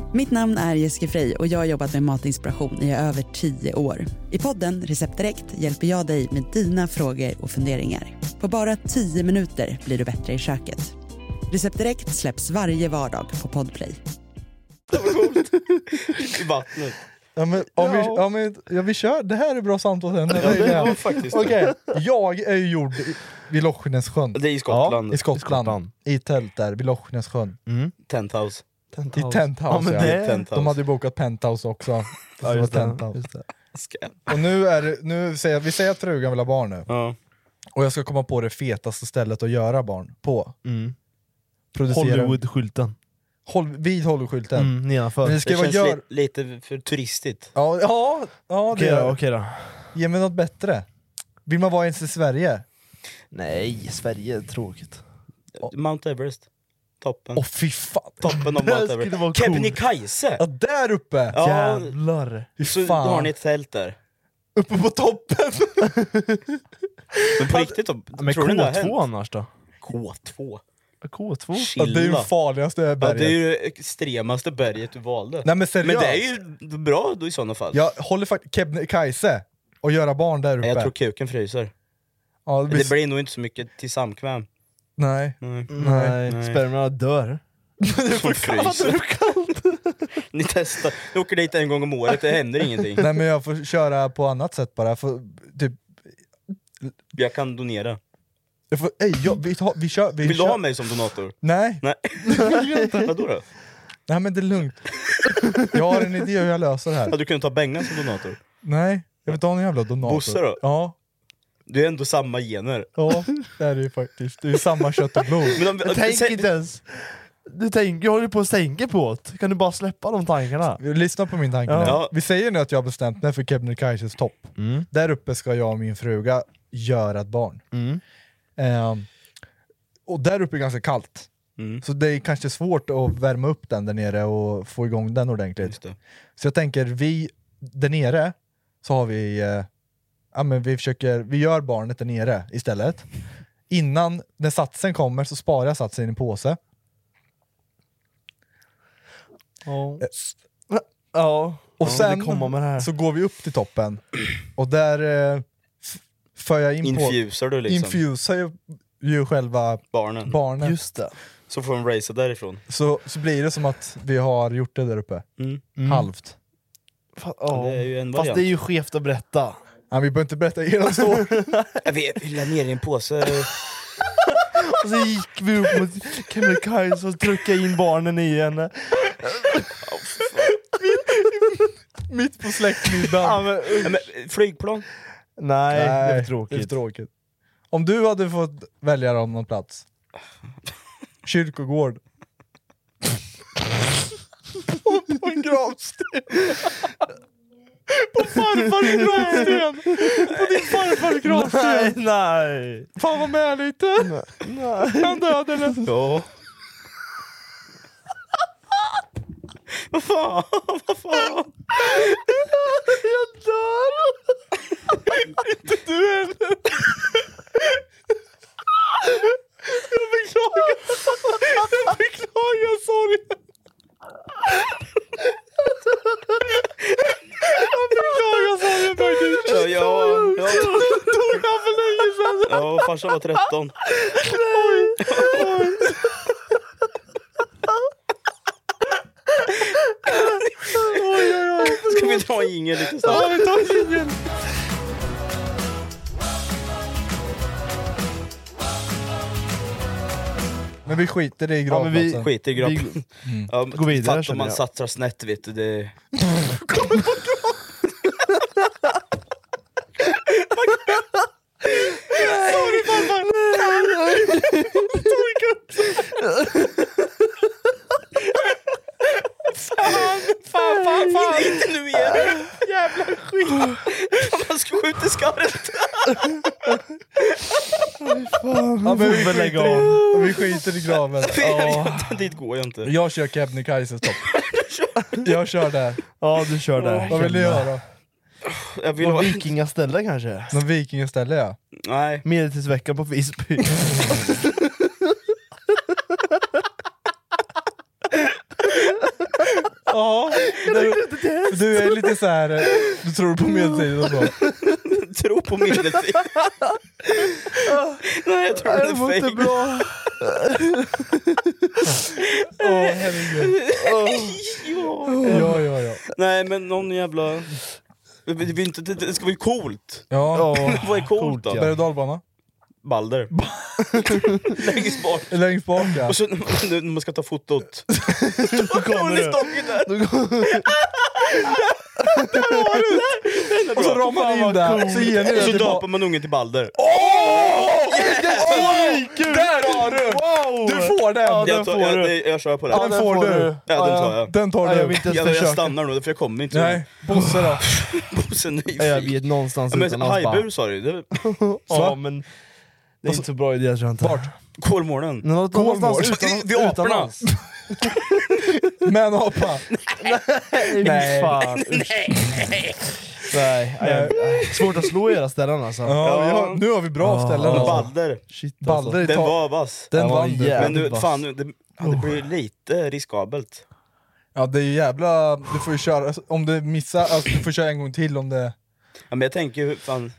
[SPEAKER 8] Mitt namn är Jessica Frey och jag har jobbat med matinspiration i över 10 år. I podden Recept Direkt hjälper jag dig med dina frågor och funderingar. På bara 10 minuter blir du bättre i köket. Recept Direkt släpps varje vardag på Podplay.
[SPEAKER 5] I vattnet.
[SPEAKER 3] Ja, men, om
[SPEAKER 4] Ja.
[SPEAKER 3] Vi, ja, men, ja, vi kör. Det här är bra samtalsämne.
[SPEAKER 5] Ja, det
[SPEAKER 3] Ja,
[SPEAKER 5] var faktiskt det.
[SPEAKER 3] Okej, jag är ju gjord i- vid Lochnesjön.
[SPEAKER 5] Det är i Skottland.
[SPEAKER 3] I Skottland. I,
[SPEAKER 4] Skottland.
[SPEAKER 3] tält där, vid Lochnesjön.
[SPEAKER 5] Tenthouse.
[SPEAKER 3] I
[SPEAKER 4] Ja,
[SPEAKER 3] Tenthouse
[SPEAKER 4] men
[SPEAKER 3] ja.
[SPEAKER 4] det-
[SPEAKER 5] Tenthouse.
[SPEAKER 3] De hade ju bokat Penthouse också.
[SPEAKER 4] Ja,
[SPEAKER 3] det var
[SPEAKER 4] just det,
[SPEAKER 3] Tenthouse.
[SPEAKER 4] just det.
[SPEAKER 5] Ska-
[SPEAKER 3] Och nu är det, nu säger, vi säger att frugan vill ha barn nu.
[SPEAKER 5] Ja.
[SPEAKER 3] Och jag ska komma på det fetaste stället att göra barn på.
[SPEAKER 4] Mm.
[SPEAKER 3] Producera.
[SPEAKER 4] Hollywood-skylten.
[SPEAKER 3] Håll, vid Hollywoodskylten.
[SPEAKER 4] Mm, nedanför.
[SPEAKER 3] Men det
[SPEAKER 4] Okej
[SPEAKER 3] ska
[SPEAKER 5] Det
[SPEAKER 3] vara
[SPEAKER 5] känns
[SPEAKER 3] gör...
[SPEAKER 5] li- lite för turistigt.
[SPEAKER 3] Ja, ja, ja det
[SPEAKER 4] då,
[SPEAKER 3] gör
[SPEAKER 4] okej då.
[SPEAKER 3] Ge mig något bättre. Vill man vara ens i Sverige?
[SPEAKER 4] Nej, Sverige är tråkigt.
[SPEAKER 5] Mount Everest. Toppen.
[SPEAKER 3] Åh fy fan!
[SPEAKER 5] Toppen av
[SPEAKER 4] *laughs* det
[SPEAKER 5] Mount
[SPEAKER 4] skulle vara
[SPEAKER 5] Everest.
[SPEAKER 4] coolt.
[SPEAKER 5] Kebnekaise!
[SPEAKER 3] Ja, där uppe!
[SPEAKER 5] Ja.
[SPEAKER 4] Jävlar.
[SPEAKER 3] Fy
[SPEAKER 5] Så
[SPEAKER 3] fan.
[SPEAKER 5] har ni ett tält där.
[SPEAKER 3] Uppe på toppen!
[SPEAKER 5] Men på riktigt då?
[SPEAKER 4] Men
[SPEAKER 5] tror ni det har
[SPEAKER 4] K2
[SPEAKER 5] hänt?
[SPEAKER 4] annars då?
[SPEAKER 5] K2?
[SPEAKER 4] K2?
[SPEAKER 3] Ja, det är ju
[SPEAKER 5] Chilla.
[SPEAKER 3] farligaste
[SPEAKER 5] Ja,
[SPEAKER 3] berget.
[SPEAKER 5] det är ju det extremaste berget du valde.
[SPEAKER 3] Nej men seriöst!
[SPEAKER 5] Men det är ju bra då i sådana fall.
[SPEAKER 3] Jag håller faktiskt Kebnekaise och göra barn där uppe.
[SPEAKER 5] Nej, Jag tror kuken fryser.
[SPEAKER 3] ja, det blir...
[SPEAKER 5] Det blir nog inte så mycket till samkväm.
[SPEAKER 3] Nej.
[SPEAKER 5] Nej.
[SPEAKER 4] Nej,
[SPEAKER 5] Nej.
[SPEAKER 4] spermierna dör.
[SPEAKER 5] Hon fryser. *laughs* Ni testar. Ni åker dit en gång om året, det händer ingenting.
[SPEAKER 3] Nej men jag får köra på annat sätt bara. Jag får, typ,
[SPEAKER 5] Jag kan donera.
[SPEAKER 3] jag får, ey, jag, vi, tar, vi kör... Vi
[SPEAKER 5] Vill du
[SPEAKER 3] kör.
[SPEAKER 5] ha mig som donator?
[SPEAKER 3] Nej,
[SPEAKER 5] Nej. Vadå då?
[SPEAKER 3] nej men det
[SPEAKER 5] *laughs*
[SPEAKER 3] är lugnt. jag har en idé hur jag löser det här.
[SPEAKER 5] Hade du kunnat ta Bengan som donator?
[SPEAKER 3] Nej, jag vill inte ha någon jävla donator.
[SPEAKER 5] Bosse då?
[SPEAKER 3] Ja.
[SPEAKER 5] Det är ändå samma gener.
[SPEAKER 3] Ja, det är det ju faktiskt. Det är ju samma kött och blod.
[SPEAKER 5] Men om,
[SPEAKER 4] Men
[SPEAKER 5] sä-
[SPEAKER 4] Tänk inte ens. Du tänker, håller på att tänka på det. Kan du bara släppa de tankarna?
[SPEAKER 3] Lyssna på min tanke nu.
[SPEAKER 5] Ja. Mm.
[SPEAKER 3] Vi säger nu att jag har bestämt mig för Kebnekaises topp. Där uppe ska jag och min fruga göra ett barn.
[SPEAKER 5] Mm.
[SPEAKER 3] Ehm, och där uppe är det ganska kallt.
[SPEAKER 5] Mm.
[SPEAKER 3] Så det är kanske svårt att värma upp den där nere och få igång den ordentligt.
[SPEAKER 5] Just det.
[SPEAKER 3] Så jag tänker, vi där nere så har vi, eh, ja, men vi, försöker, vi gör barnet där nere istället. Innan, när satsen kommer så sparar jag satsen i en påse.
[SPEAKER 4] Ja.
[SPEAKER 3] Ja. Och
[SPEAKER 4] Ja,
[SPEAKER 3] sen
[SPEAKER 4] det kommer med det här.
[SPEAKER 3] så går vi upp till toppen och där eh, f- för jag in på,
[SPEAKER 5] Infusar du liksom
[SPEAKER 3] infusar ju, ju själva
[SPEAKER 5] barnen,
[SPEAKER 3] barnet.
[SPEAKER 4] Just det.
[SPEAKER 5] så får de racea därifrån.
[SPEAKER 3] Så, så blir det som att vi har gjort det där uppe,
[SPEAKER 5] Mm.
[SPEAKER 3] halvt.
[SPEAKER 4] Fa- ja.
[SPEAKER 5] Det är ju en
[SPEAKER 4] Fast
[SPEAKER 5] variant.
[SPEAKER 4] det är ju skevt att berätta.
[SPEAKER 3] Ja, vi behöver inte
[SPEAKER 4] *laughs*
[SPEAKER 3] berätta hela storyn.
[SPEAKER 5] Jag vet, jag la ner i en påse.
[SPEAKER 4] Och så gick vi upp mot Kebnekaise och tryckte in barnen i henne.
[SPEAKER 3] Mitt på släktmiddagen.
[SPEAKER 4] Ja, men,
[SPEAKER 5] Ja, men, flygplan?
[SPEAKER 4] nej, det
[SPEAKER 3] Nej,
[SPEAKER 4] är tråkigt.
[SPEAKER 3] det är tråkigt. Om du hade fått välja om
[SPEAKER 5] *laughs*
[SPEAKER 3] någon plats? Kyrkogård. på en gravsten.
[SPEAKER 4] Farfar i gravsten! På din farfar i gravsten! Nej, nej!
[SPEAKER 3] Fan vad med lite.
[SPEAKER 4] Han dödade henne.
[SPEAKER 5] Ja. Vad fan, *laughs* vad fan?
[SPEAKER 4] Jag dör! Inte du heller! Jag beklagar, jag beklagar sorgen! Jag beklagar sorgen faktiskt!
[SPEAKER 5] Ja, ja, ja.
[SPEAKER 4] Tog han för länge sedan!
[SPEAKER 5] ja farsan var 13. Ska vi ta en jingel lite snabbt?
[SPEAKER 4] Ja, vi tar linjen!
[SPEAKER 3] Men vi skiter i
[SPEAKER 4] Ja, men vi-
[SPEAKER 3] gravplatsen.
[SPEAKER 5] Skit i grabb.
[SPEAKER 4] Vi-
[SPEAKER 5] Ja,
[SPEAKER 4] Gå vidare,
[SPEAKER 5] fatt om
[SPEAKER 4] känner
[SPEAKER 5] man
[SPEAKER 4] jag.
[SPEAKER 5] satsar snett vet du. Det... Sorry farfar! Fan, fan, fan, fan! Inte nu igen! Jävla skit! Man ska skjuta skarpt!
[SPEAKER 3] Ja, men vi,
[SPEAKER 4] väl lägga
[SPEAKER 3] skiter i, vi skiter i graven.
[SPEAKER 5] *laughs*
[SPEAKER 3] Ja.
[SPEAKER 5] Dit går jag inte.
[SPEAKER 3] Jag kör Kebnekaises topp. Jag kör där.
[SPEAKER 4] Ja, du kör där.
[SPEAKER 3] Vad vill du göra?
[SPEAKER 5] Jag vill
[SPEAKER 4] På
[SPEAKER 5] vara...
[SPEAKER 4] vikingaställe kanske?
[SPEAKER 3] Någon vikingaställe ja.
[SPEAKER 5] Nej.
[SPEAKER 4] Medeltidsveckan på Visby.
[SPEAKER 3] Ja. Du, du är lite så här. eh, du tror på medeltiden och så.
[SPEAKER 5] tro
[SPEAKER 4] *laughs*
[SPEAKER 5] på medeltid. Nej, jag tror det
[SPEAKER 4] Det var
[SPEAKER 5] är
[SPEAKER 4] inte
[SPEAKER 5] fejk.
[SPEAKER 4] bra.
[SPEAKER 3] Åh herregud. Ja, ja, ja.
[SPEAKER 5] Nej, men någon jävla... Det, det, det, inte- det, det ska vara ju coolt.
[SPEAKER 3] Ja,
[SPEAKER 5] *laughs* Vad är coolt
[SPEAKER 4] coolt,
[SPEAKER 5] då?
[SPEAKER 4] ja.
[SPEAKER 3] berg och dalbana. *laughs*
[SPEAKER 5] Balder. Längst bort.
[SPEAKER 3] Längst bak ja.
[SPEAKER 5] Och så nu, när man ska ta
[SPEAKER 3] *laughs*
[SPEAKER 5] fotot.
[SPEAKER 4] Då
[SPEAKER 5] Hon
[SPEAKER 4] kommer
[SPEAKER 5] är
[SPEAKER 4] det.
[SPEAKER 5] stången där! *laughs*
[SPEAKER 3] Och så ramar ni in där, så ger ni
[SPEAKER 5] Och så
[SPEAKER 3] det
[SPEAKER 5] döper
[SPEAKER 3] tillbaka.
[SPEAKER 5] man ungen till Balder.
[SPEAKER 3] Där har du!
[SPEAKER 4] Wow!
[SPEAKER 3] Du får den!
[SPEAKER 5] jag, tar,
[SPEAKER 4] får
[SPEAKER 5] jag,
[SPEAKER 4] du.
[SPEAKER 5] jag, jag kör på det.
[SPEAKER 3] Ja, den får du.
[SPEAKER 5] Ja, den tar jag.
[SPEAKER 3] Den tar
[SPEAKER 4] Nej, jag
[SPEAKER 3] du.
[SPEAKER 4] vill inte ens
[SPEAKER 5] Jag, jag
[SPEAKER 4] försöka.
[SPEAKER 5] stannar nog, för jag kommer inte.
[SPEAKER 3] Nej,
[SPEAKER 5] *laughs*
[SPEAKER 3] Bosse då?
[SPEAKER 5] Bosse
[SPEAKER 4] Nej, Jag
[SPEAKER 5] nyfiken.
[SPEAKER 4] vet någonstans
[SPEAKER 5] Ja, Men
[SPEAKER 4] utan hans
[SPEAKER 5] hajbur sa du ju.
[SPEAKER 4] Ja, men det är inte så bra idé jag tror jag inte.
[SPEAKER 3] Alltså, Vart?
[SPEAKER 5] Kolmården.
[SPEAKER 4] Nå- Någonstans
[SPEAKER 3] Kolmård.
[SPEAKER 4] utan,
[SPEAKER 5] Vid aporna.
[SPEAKER 4] utan hans.
[SPEAKER 3] Med en apa?
[SPEAKER 4] Nej. Fan. Nej. Nej. Svårt att slå i era ställen alltså.
[SPEAKER 3] Ja, vi har, nu har vi bra ställen alltså.
[SPEAKER 5] Balder.
[SPEAKER 4] Shit alltså.
[SPEAKER 3] Balder i
[SPEAKER 5] Den
[SPEAKER 3] tak.
[SPEAKER 5] var vass.
[SPEAKER 3] Den
[SPEAKER 4] var
[SPEAKER 3] vann du.
[SPEAKER 4] jävligt-
[SPEAKER 5] Men nu,
[SPEAKER 4] vass.
[SPEAKER 5] fan, nu- det, ja, det blir lite riskabelt.
[SPEAKER 3] Ja det är ju jävla... Du får ju köra, om du missar, alltså, du får köra en gång till om det...
[SPEAKER 5] Ja, men jag tänker hur fan...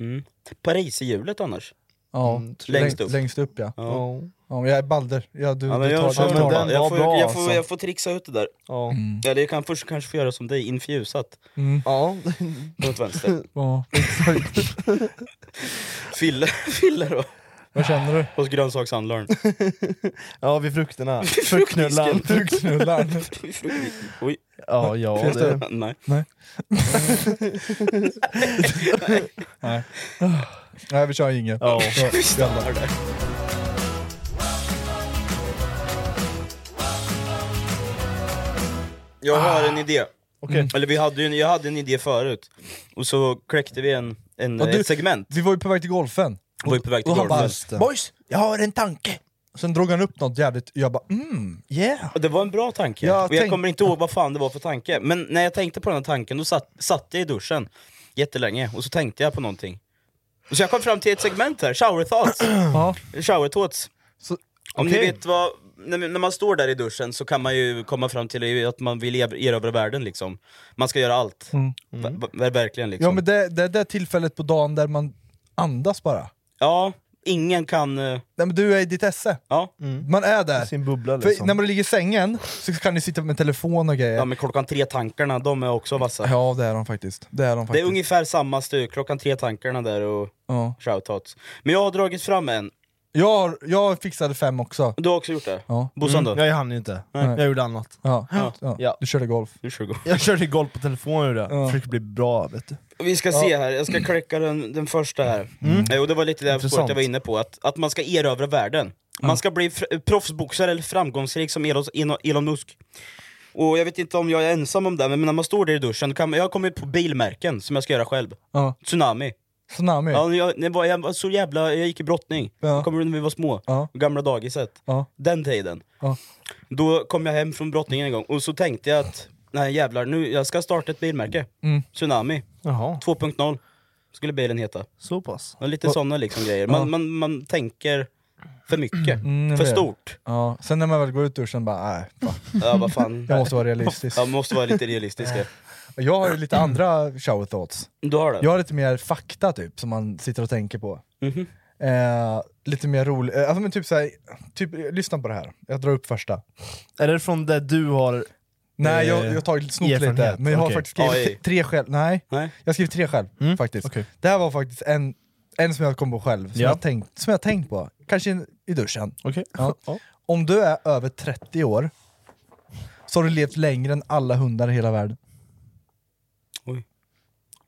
[SPEAKER 5] Mm. Paris i hjulet annars.
[SPEAKER 3] Ja,
[SPEAKER 5] Mm, längst upp.
[SPEAKER 3] Längst upp ja.
[SPEAKER 5] Ja.
[SPEAKER 3] ja men jag är Balder. Ja, du,
[SPEAKER 5] Ja,
[SPEAKER 3] du
[SPEAKER 5] men
[SPEAKER 3] tar
[SPEAKER 5] jag, kör
[SPEAKER 3] du
[SPEAKER 4] men
[SPEAKER 5] den
[SPEAKER 3] tar
[SPEAKER 4] den
[SPEAKER 5] jag,
[SPEAKER 4] var
[SPEAKER 5] får,
[SPEAKER 4] bra,
[SPEAKER 5] jag, får,
[SPEAKER 4] alltså.
[SPEAKER 5] jag får trixa ut det där.
[SPEAKER 4] Ja.
[SPEAKER 5] Eller jag kan först kanske få göra som dig, infusat.
[SPEAKER 4] Ja.
[SPEAKER 5] *laughs* Åt vänster. *laughs*
[SPEAKER 3] Ja.
[SPEAKER 5] Fille, Fille då.
[SPEAKER 3] Vad känner du?
[SPEAKER 5] Hos grönsakshandlaren. *laughs*
[SPEAKER 4] Ja, vid *laughs* frukterna.
[SPEAKER 3] *laughs*
[SPEAKER 4] Fruktknullan.
[SPEAKER 3] Fruktknullan.
[SPEAKER 5] Oj,
[SPEAKER 4] Ja, ja.
[SPEAKER 3] Finns det?
[SPEAKER 4] Det.
[SPEAKER 5] nej.
[SPEAKER 3] Nej, vi kör ingen.
[SPEAKER 4] Ja.
[SPEAKER 5] *laughs* Jag har
[SPEAKER 3] Ah,
[SPEAKER 5] en idé.
[SPEAKER 4] Okej.
[SPEAKER 5] Eller vi hade ju en, jag hade en idé förut. Och så kläckte vi en, en,
[SPEAKER 3] Ja, du-
[SPEAKER 5] ett segment.
[SPEAKER 3] Vi var ju på väg till golfen.
[SPEAKER 5] Var ju på väg till
[SPEAKER 3] och han
[SPEAKER 5] golfen.
[SPEAKER 3] bara,
[SPEAKER 4] Boys, jag har en tanke.
[SPEAKER 3] Sen drog han upp något jävligt, jag bara mm,
[SPEAKER 4] Yeah.
[SPEAKER 5] Och det var en bra tanke.
[SPEAKER 3] Jag
[SPEAKER 5] och jag
[SPEAKER 3] tänk-
[SPEAKER 5] kommer inte ihåg vad fan det var för tanke. Men när jag tänkte på den här tanken, då satt, satt jag i duschen jättelänge. Och så tänkte jag på någonting. Och så jag kom fram till ett segment här, shower
[SPEAKER 3] *clears throat*
[SPEAKER 5] thoughts.
[SPEAKER 3] ja.
[SPEAKER 5] shower thoughts.
[SPEAKER 3] Så-
[SPEAKER 5] Om ni
[SPEAKER 3] okej.
[SPEAKER 5] vet vad... När när man står där i duschen så kan man ju komma fram till att man vill er- erövra världen liksom. Man ska göra allt. Ver- ver- verkligen liksom.
[SPEAKER 3] Mm. ja men det, det är det tillfället på dagen där man andas bara.
[SPEAKER 5] Ja, ingen kan... eh,
[SPEAKER 3] Nej, men du är i ditt esse.
[SPEAKER 5] Ja,
[SPEAKER 3] Man är där.
[SPEAKER 4] Sin bubbla
[SPEAKER 3] För
[SPEAKER 4] liksom.
[SPEAKER 3] när man ligger i sängen så kan ni sitta med telefon och grejer.
[SPEAKER 5] ja men klockan tre-tankarna, de är också vassa.
[SPEAKER 3] Ja det är de faktiskt. Det är de
[SPEAKER 5] Det
[SPEAKER 3] faktiskt.
[SPEAKER 5] är ungefär samma styr, klockan tre-tankarna där och
[SPEAKER 3] ja.
[SPEAKER 5] shoutouts. Men jag har dragit fram en.
[SPEAKER 3] jag, har, jag fixade fem också.
[SPEAKER 5] Du har också gjort det?
[SPEAKER 3] Ja.
[SPEAKER 5] Bossan då?
[SPEAKER 4] Mm, jag hann ju inte. Jag gjorde annat.
[SPEAKER 3] Ja. Ja.
[SPEAKER 5] Ja.
[SPEAKER 4] Ja.
[SPEAKER 3] Du körde golf.
[SPEAKER 5] Du kör igång.
[SPEAKER 4] Jag körde golv på telefonen gjorde jag.
[SPEAKER 3] Ja.
[SPEAKER 4] Försökte bli bra vet du.
[SPEAKER 5] Vi ska se här, jag ska kläcka den, den första här.
[SPEAKER 3] Mm.
[SPEAKER 5] Eh, Och det var lite det här spåret
[SPEAKER 4] Intressant.
[SPEAKER 5] jag var inne på, att, att man ska erövra världen. Man ska bli fr- proffsboxare eller framgångsrik som Elon, Elon- Elon Musk. Och jag vet inte om jag är ensam om det, men när man står där i duschen, då kan man, jag har kommit på bilmärken som jag ska göra själv.
[SPEAKER 3] Ja.
[SPEAKER 5] Tsunami.
[SPEAKER 3] Tsunami.
[SPEAKER 5] Ja, jag, det var, jag var så jävla, jag gick i brottning,
[SPEAKER 3] Ja.
[SPEAKER 5] kommer du ihåg när vi var små?
[SPEAKER 3] Ja.
[SPEAKER 5] Gamla dagiset.
[SPEAKER 3] Ja.
[SPEAKER 5] Den tiden.
[SPEAKER 3] Ja.
[SPEAKER 5] Då kom jag hem från brottningen en gång och så tänkte jag att, nej jävlar, nu, jag ska starta ett bilmärke.
[SPEAKER 3] Mm.
[SPEAKER 5] Tsunami.
[SPEAKER 4] Jaha,
[SPEAKER 5] 2.0 skulle bilen heta.
[SPEAKER 4] så pass.
[SPEAKER 5] Och lite sådana liksom grejer. Man, man, man tänker för mycket,
[SPEAKER 3] Mm, jag
[SPEAKER 5] för
[SPEAKER 3] vet.
[SPEAKER 5] stort.
[SPEAKER 3] Ja. Sen när man väl går ut ur duschen bara nej, fan.
[SPEAKER 5] Ja, vad fan.
[SPEAKER 3] *laughs* jag måste vara realistisk.
[SPEAKER 5] Ja, måste vara lite realistisk. ja.
[SPEAKER 3] Jag har ju lite andra shower thoughts.
[SPEAKER 5] Du har det?
[SPEAKER 3] Jag har lite mer fakta typ, som man sitter och tänker på.
[SPEAKER 5] Mhm.
[SPEAKER 3] Eh, lite mer rolig, eh, alltså, men typ såhär, typ, eh, lyssna på det här, jag drar upp första.
[SPEAKER 4] Är det från det du har...
[SPEAKER 3] Nej jag,
[SPEAKER 4] Eh,
[SPEAKER 3] jag har tagit snott lite,
[SPEAKER 4] erfarenhet,
[SPEAKER 3] men jag har
[SPEAKER 4] okej.
[SPEAKER 3] faktiskt skrivit
[SPEAKER 5] Oj.
[SPEAKER 3] tre själv, nej.
[SPEAKER 5] Nej?
[SPEAKER 3] Jag har skrivit tre själv
[SPEAKER 4] Mm,
[SPEAKER 3] faktiskt.
[SPEAKER 4] okej.
[SPEAKER 3] Det här var faktiskt en, en som jag kom på själv, som,
[SPEAKER 4] Ja.
[SPEAKER 3] jag, tänkt, som jag tänkt på, kanske i- i duschen.
[SPEAKER 4] Okej.
[SPEAKER 3] Ja. Om du är över 30 år, så har du levt längre än alla hundar i hela världen.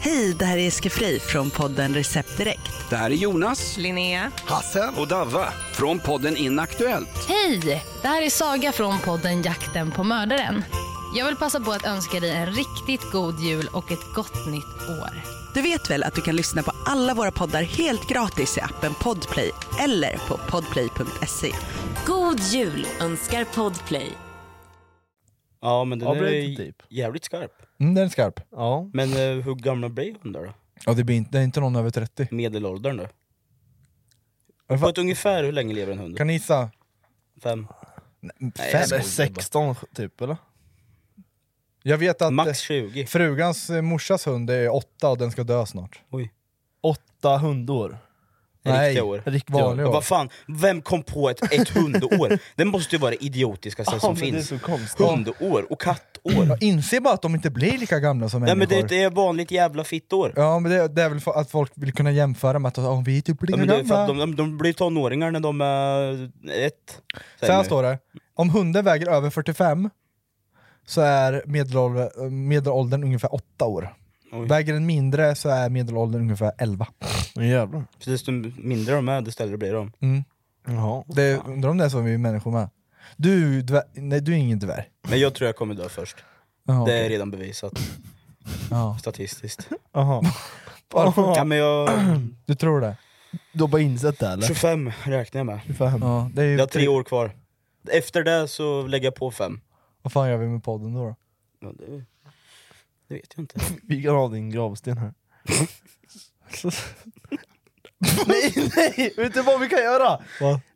[SPEAKER 8] Hej, det här är Jessica Frey från podden Recept Direkt.
[SPEAKER 9] Det här är Jonas,
[SPEAKER 10] Linnea.
[SPEAKER 9] Hasse och Davva från podden Inaktuellt.
[SPEAKER 10] Hej! Det här är Saga från podden Jakten på mördaren. Jag vill passa på att önska dig en riktigt god jul och ett gott nytt år.
[SPEAKER 8] Du vet väl att du kan lyssna på alla våra poddar helt gratis i appen Podplay eller på podplay.se.
[SPEAKER 10] God jul önskar Podplay.
[SPEAKER 5] Ja, men den
[SPEAKER 4] Ja,
[SPEAKER 5] är
[SPEAKER 4] blev lite deep.
[SPEAKER 5] jävligt skarp.
[SPEAKER 3] Mm, den är skarp.
[SPEAKER 4] Ja.
[SPEAKER 5] Men eh, hur gamla blir hundar då?
[SPEAKER 3] Ja, det, blir inte, det är inte någon över 30.
[SPEAKER 5] Medelåldern då?
[SPEAKER 3] Vad
[SPEAKER 5] På
[SPEAKER 3] fan-
[SPEAKER 5] ett ungefär hur länge lever en hund?
[SPEAKER 3] Kan ni gissa?
[SPEAKER 5] Fem?
[SPEAKER 3] Fem?
[SPEAKER 4] Eller 16 typ eller?
[SPEAKER 3] Jag vet att
[SPEAKER 5] Max 20?
[SPEAKER 3] frugans eh, morsas hund är åtta och den ska dö snart.
[SPEAKER 5] Oj.
[SPEAKER 4] Åtta hundår.
[SPEAKER 5] Riktiga år.
[SPEAKER 4] Riktiga år.
[SPEAKER 3] Vanliga
[SPEAKER 5] Ja,
[SPEAKER 3] år.
[SPEAKER 5] vad fan, vem kom på ett, ett hundår? Det måste ju vara det idiotiskaste
[SPEAKER 4] Ja,
[SPEAKER 5] som
[SPEAKER 4] men
[SPEAKER 5] finns.
[SPEAKER 4] Det är så konstigt.
[SPEAKER 5] Hundår och kattår.
[SPEAKER 3] Jag inser bara att de inte blir lika gamla som
[SPEAKER 5] Nej men
[SPEAKER 3] människor.
[SPEAKER 5] det, det är vanligt jävla fittår.
[SPEAKER 3] Ja men det, det är väl för att folk vill kunna jämföra med att oh, vi är typ lika
[SPEAKER 5] Ja, men det är för
[SPEAKER 3] gamla.
[SPEAKER 5] att de, de, de blir tonåringar när de är ett.
[SPEAKER 3] Så här
[SPEAKER 5] nu.
[SPEAKER 3] står det, om hunden väger över 45 så är medelålder, medelåldern ungefär 8 år.
[SPEAKER 5] Oj.
[SPEAKER 3] Väger den mindre så är medelåldern ungefär 11.
[SPEAKER 4] Men jävlar.
[SPEAKER 5] Så desto mindre de är, desto äldre blir de.
[SPEAKER 4] Jaha.
[SPEAKER 3] Det, undrar om det är så vi är människor med. Du, dvär, nej, du är ingen dvärg.
[SPEAKER 5] Men jag tror jag kommer dö först.
[SPEAKER 3] Jaha,
[SPEAKER 5] Det är
[SPEAKER 3] okej.
[SPEAKER 5] redan bevisat
[SPEAKER 3] Ja.
[SPEAKER 5] statistiskt.
[SPEAKER 4] Jaha.
[SPEAKER 5] Ja, men jag,
[SPEAKER 4] *clears throat*
[SPEAKER 5] *clears throat*
[SPEAKER 3] Du tror det?
[SPEAKER 4] *laughs* Du har bara insett det eller?
[SPEAKER 5] 25 räknar jag med.
[SPEAKER 4] 25.
[SPEAKER 3] Ja, det är ju
[SPEAKER 5] Jag har tre år kvar. Efter det så lägger jag på fem.
[SPEAKER 3] Vad fan gör vi med podden då? då?
[SPEAKER 5] Ja, det, det vet jag inte.
[SPEAKER 4] Vi kan ha din gravsten här. *laughs* nej, nej! Vet du vad vi kan göra?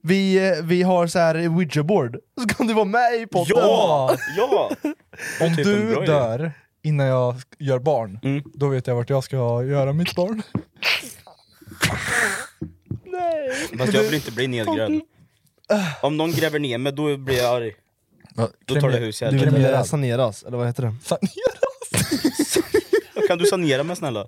[SPEAKER 4] Vi, eh, vi har så här Ouija-board, *laughs* så kan du vara med i podden! *laughs*
[SPEAKER 5] Ja! ja!
[SPEAKER 3] Om
[SPEAKER 4] typ en
[SPEAKER 3] du
[SPEAKER 4] bra idé.
[SPEAKER 3] dör innan jag sk- gör barn,
[SPEAKER 5] Mm.
[SPEAKER 3] då vet jag vart jag ska göra mitt barn.
[SPEAKER 5] Fast jag vill inte bli nedgrävd. Om någon gräver ner mig, då blir jag arg. Då tar det hus
[SPEAKER 4] Du vill
[SPEAKER 5] jag
[SPEAKER 4] att saneras, eller vad heter det?
[SPEAKER 5] Kan du sanera mig snälla?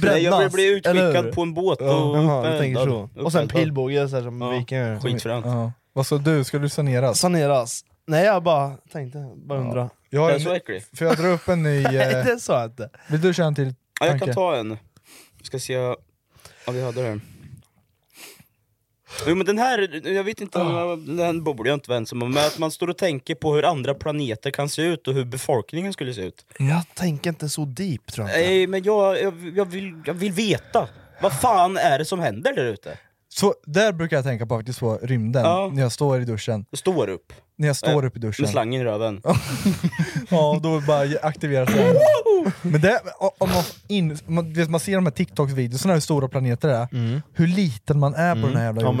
[SPEAKER 4] Brännas,
[SPEAKER 5] Nej, jag vill bli
[SPEAKER 4] eller hur?
[SPEAKER 5] utskickad på en båt och
[SPEAKER 4] Ja.
[SPEAKER 3] Oh,
[SPEAKER 4] Jaha, du
[SPEAKER 5] uppeldad.
[SPEAKER 4] tänker så. Och sen
[SPEAKER 5] Uppeldad.
[SPEAKER 4] pilbåge så här, som vikingar gör.
[SPEAKER 5] Skitfränt.
[SPEAKER 3] Ja. Vad sa du, ska du saneras?
[SPEAKER 4] Saneras. Nej jag bara tänkte, bara undra.
[SPEAKER 3] Jag har
[SPEAKER 5] Det är så
[SPEAKER 3] en,
[SPEAKER 5] äcklig.
[SPEAKER 3] för jag drar upp
[SPEAKER 4] *laughs*
[SPEAKER 3] en ny...
[SPEAKER 4] Nej
[SPEAKER 3] Eh,
[SPEAKER 4] det sa jag inte.
[SPEAKER 3] vill du köra en till
[SPEAKER 5] Ja, jag
[SPEAKER 3] tanke?
[SPEAKER 5] kan ta en. Jag ska se vad vi hade här. Jo men den här, jag vet inte,
[SPEAKER 3] Ah.
[SPEAKER 5] den här borde jag inte vara ensam om, men att man står och tänker på hur andra planeter kan se ut och hur befolkningen skulle se ut.
[SPEAKER 4] Jag tänker inte så deep tror jag inte.
[SPEAKER 5] Nej men jag, jag, jag, vill, jag vill veta, vad fan är det som händer där ute?
[SPEAKER 3] Så där brukar jag tänka på faktiskt på rymden,
[SPEAKER 5] Ja.
[SPEAKER 3] när jag står i duschen.
[SPEAKER 5] Jag Står upp,
[SPEAKER 3] När jag står
[SPEAKER 5] Ja,
[SPEAKER 3] upp i duschen.
[SPEAKER 5] med slangen i röven.
[SPEAKER 3] Ja, då bara aktiveras den. Men det, om man, in, man, vet, man ser de här TikTok-videorna hur stora planeter är, hur liten man är på den här jävla jorden.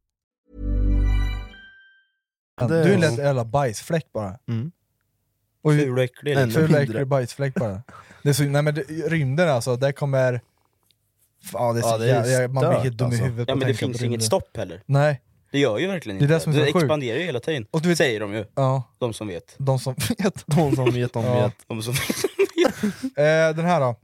[SPEAKER 3] Du är en lätt jävla bajsfläck bara.
[SPEAKER 4] Mm.
[SPEAKER 3] Och,
[SPEAKER 5] Ful och äcklig. liksom.
[SPEAKER 3] ful och äcklig bajsfläck bara. Det är så, nej men det, rymden alltså, där kommer... Ja, det är så,
[SPEAKER 4] Ja, det är
[SPEAKER 3] jävla- man blir
[SPEAKER 4] stört,
[SPEAKER 3] helt dum
[SPEAKER 4] alltså.
[SPEAKER 3] i huvudet
[SPEAKER 5] Ja
[SPEAKER 3] på
[SPEAKER 5] men
[SPEAKER 3] att
[SPEAKER 5] det
[SPEAKER 3] tänka på
[SPEAKER 5] finns
[SPEAKER 3] rymden.
[SPEAKER 5] inget stopp heller.
[SPEAKER 3] Nej,
[SPEAKER 5] Det gör ju verkligen
[SPEAKER 3] Det är
[SPEAKER 5] inte
[SPEAKER 3] det som är så sjukt.
[SPEAKER 5] expanderar ju hela tiden,
[SPEAKER 3] Och du vet-
[SPEAKER 5] säger de ju.
[SPEAKER 3] ja,
[SPEAKER 5] De som vet.
[SPEAKER 3] de som *laughs* vet.
[SPEAKER 4] De som vet, de
[SPEAKER 3] Ja.
[SPEAKER 4] vet.
[SPEAKER 5] De som
[SPEAKER 3] *laughs* Eh, den här då.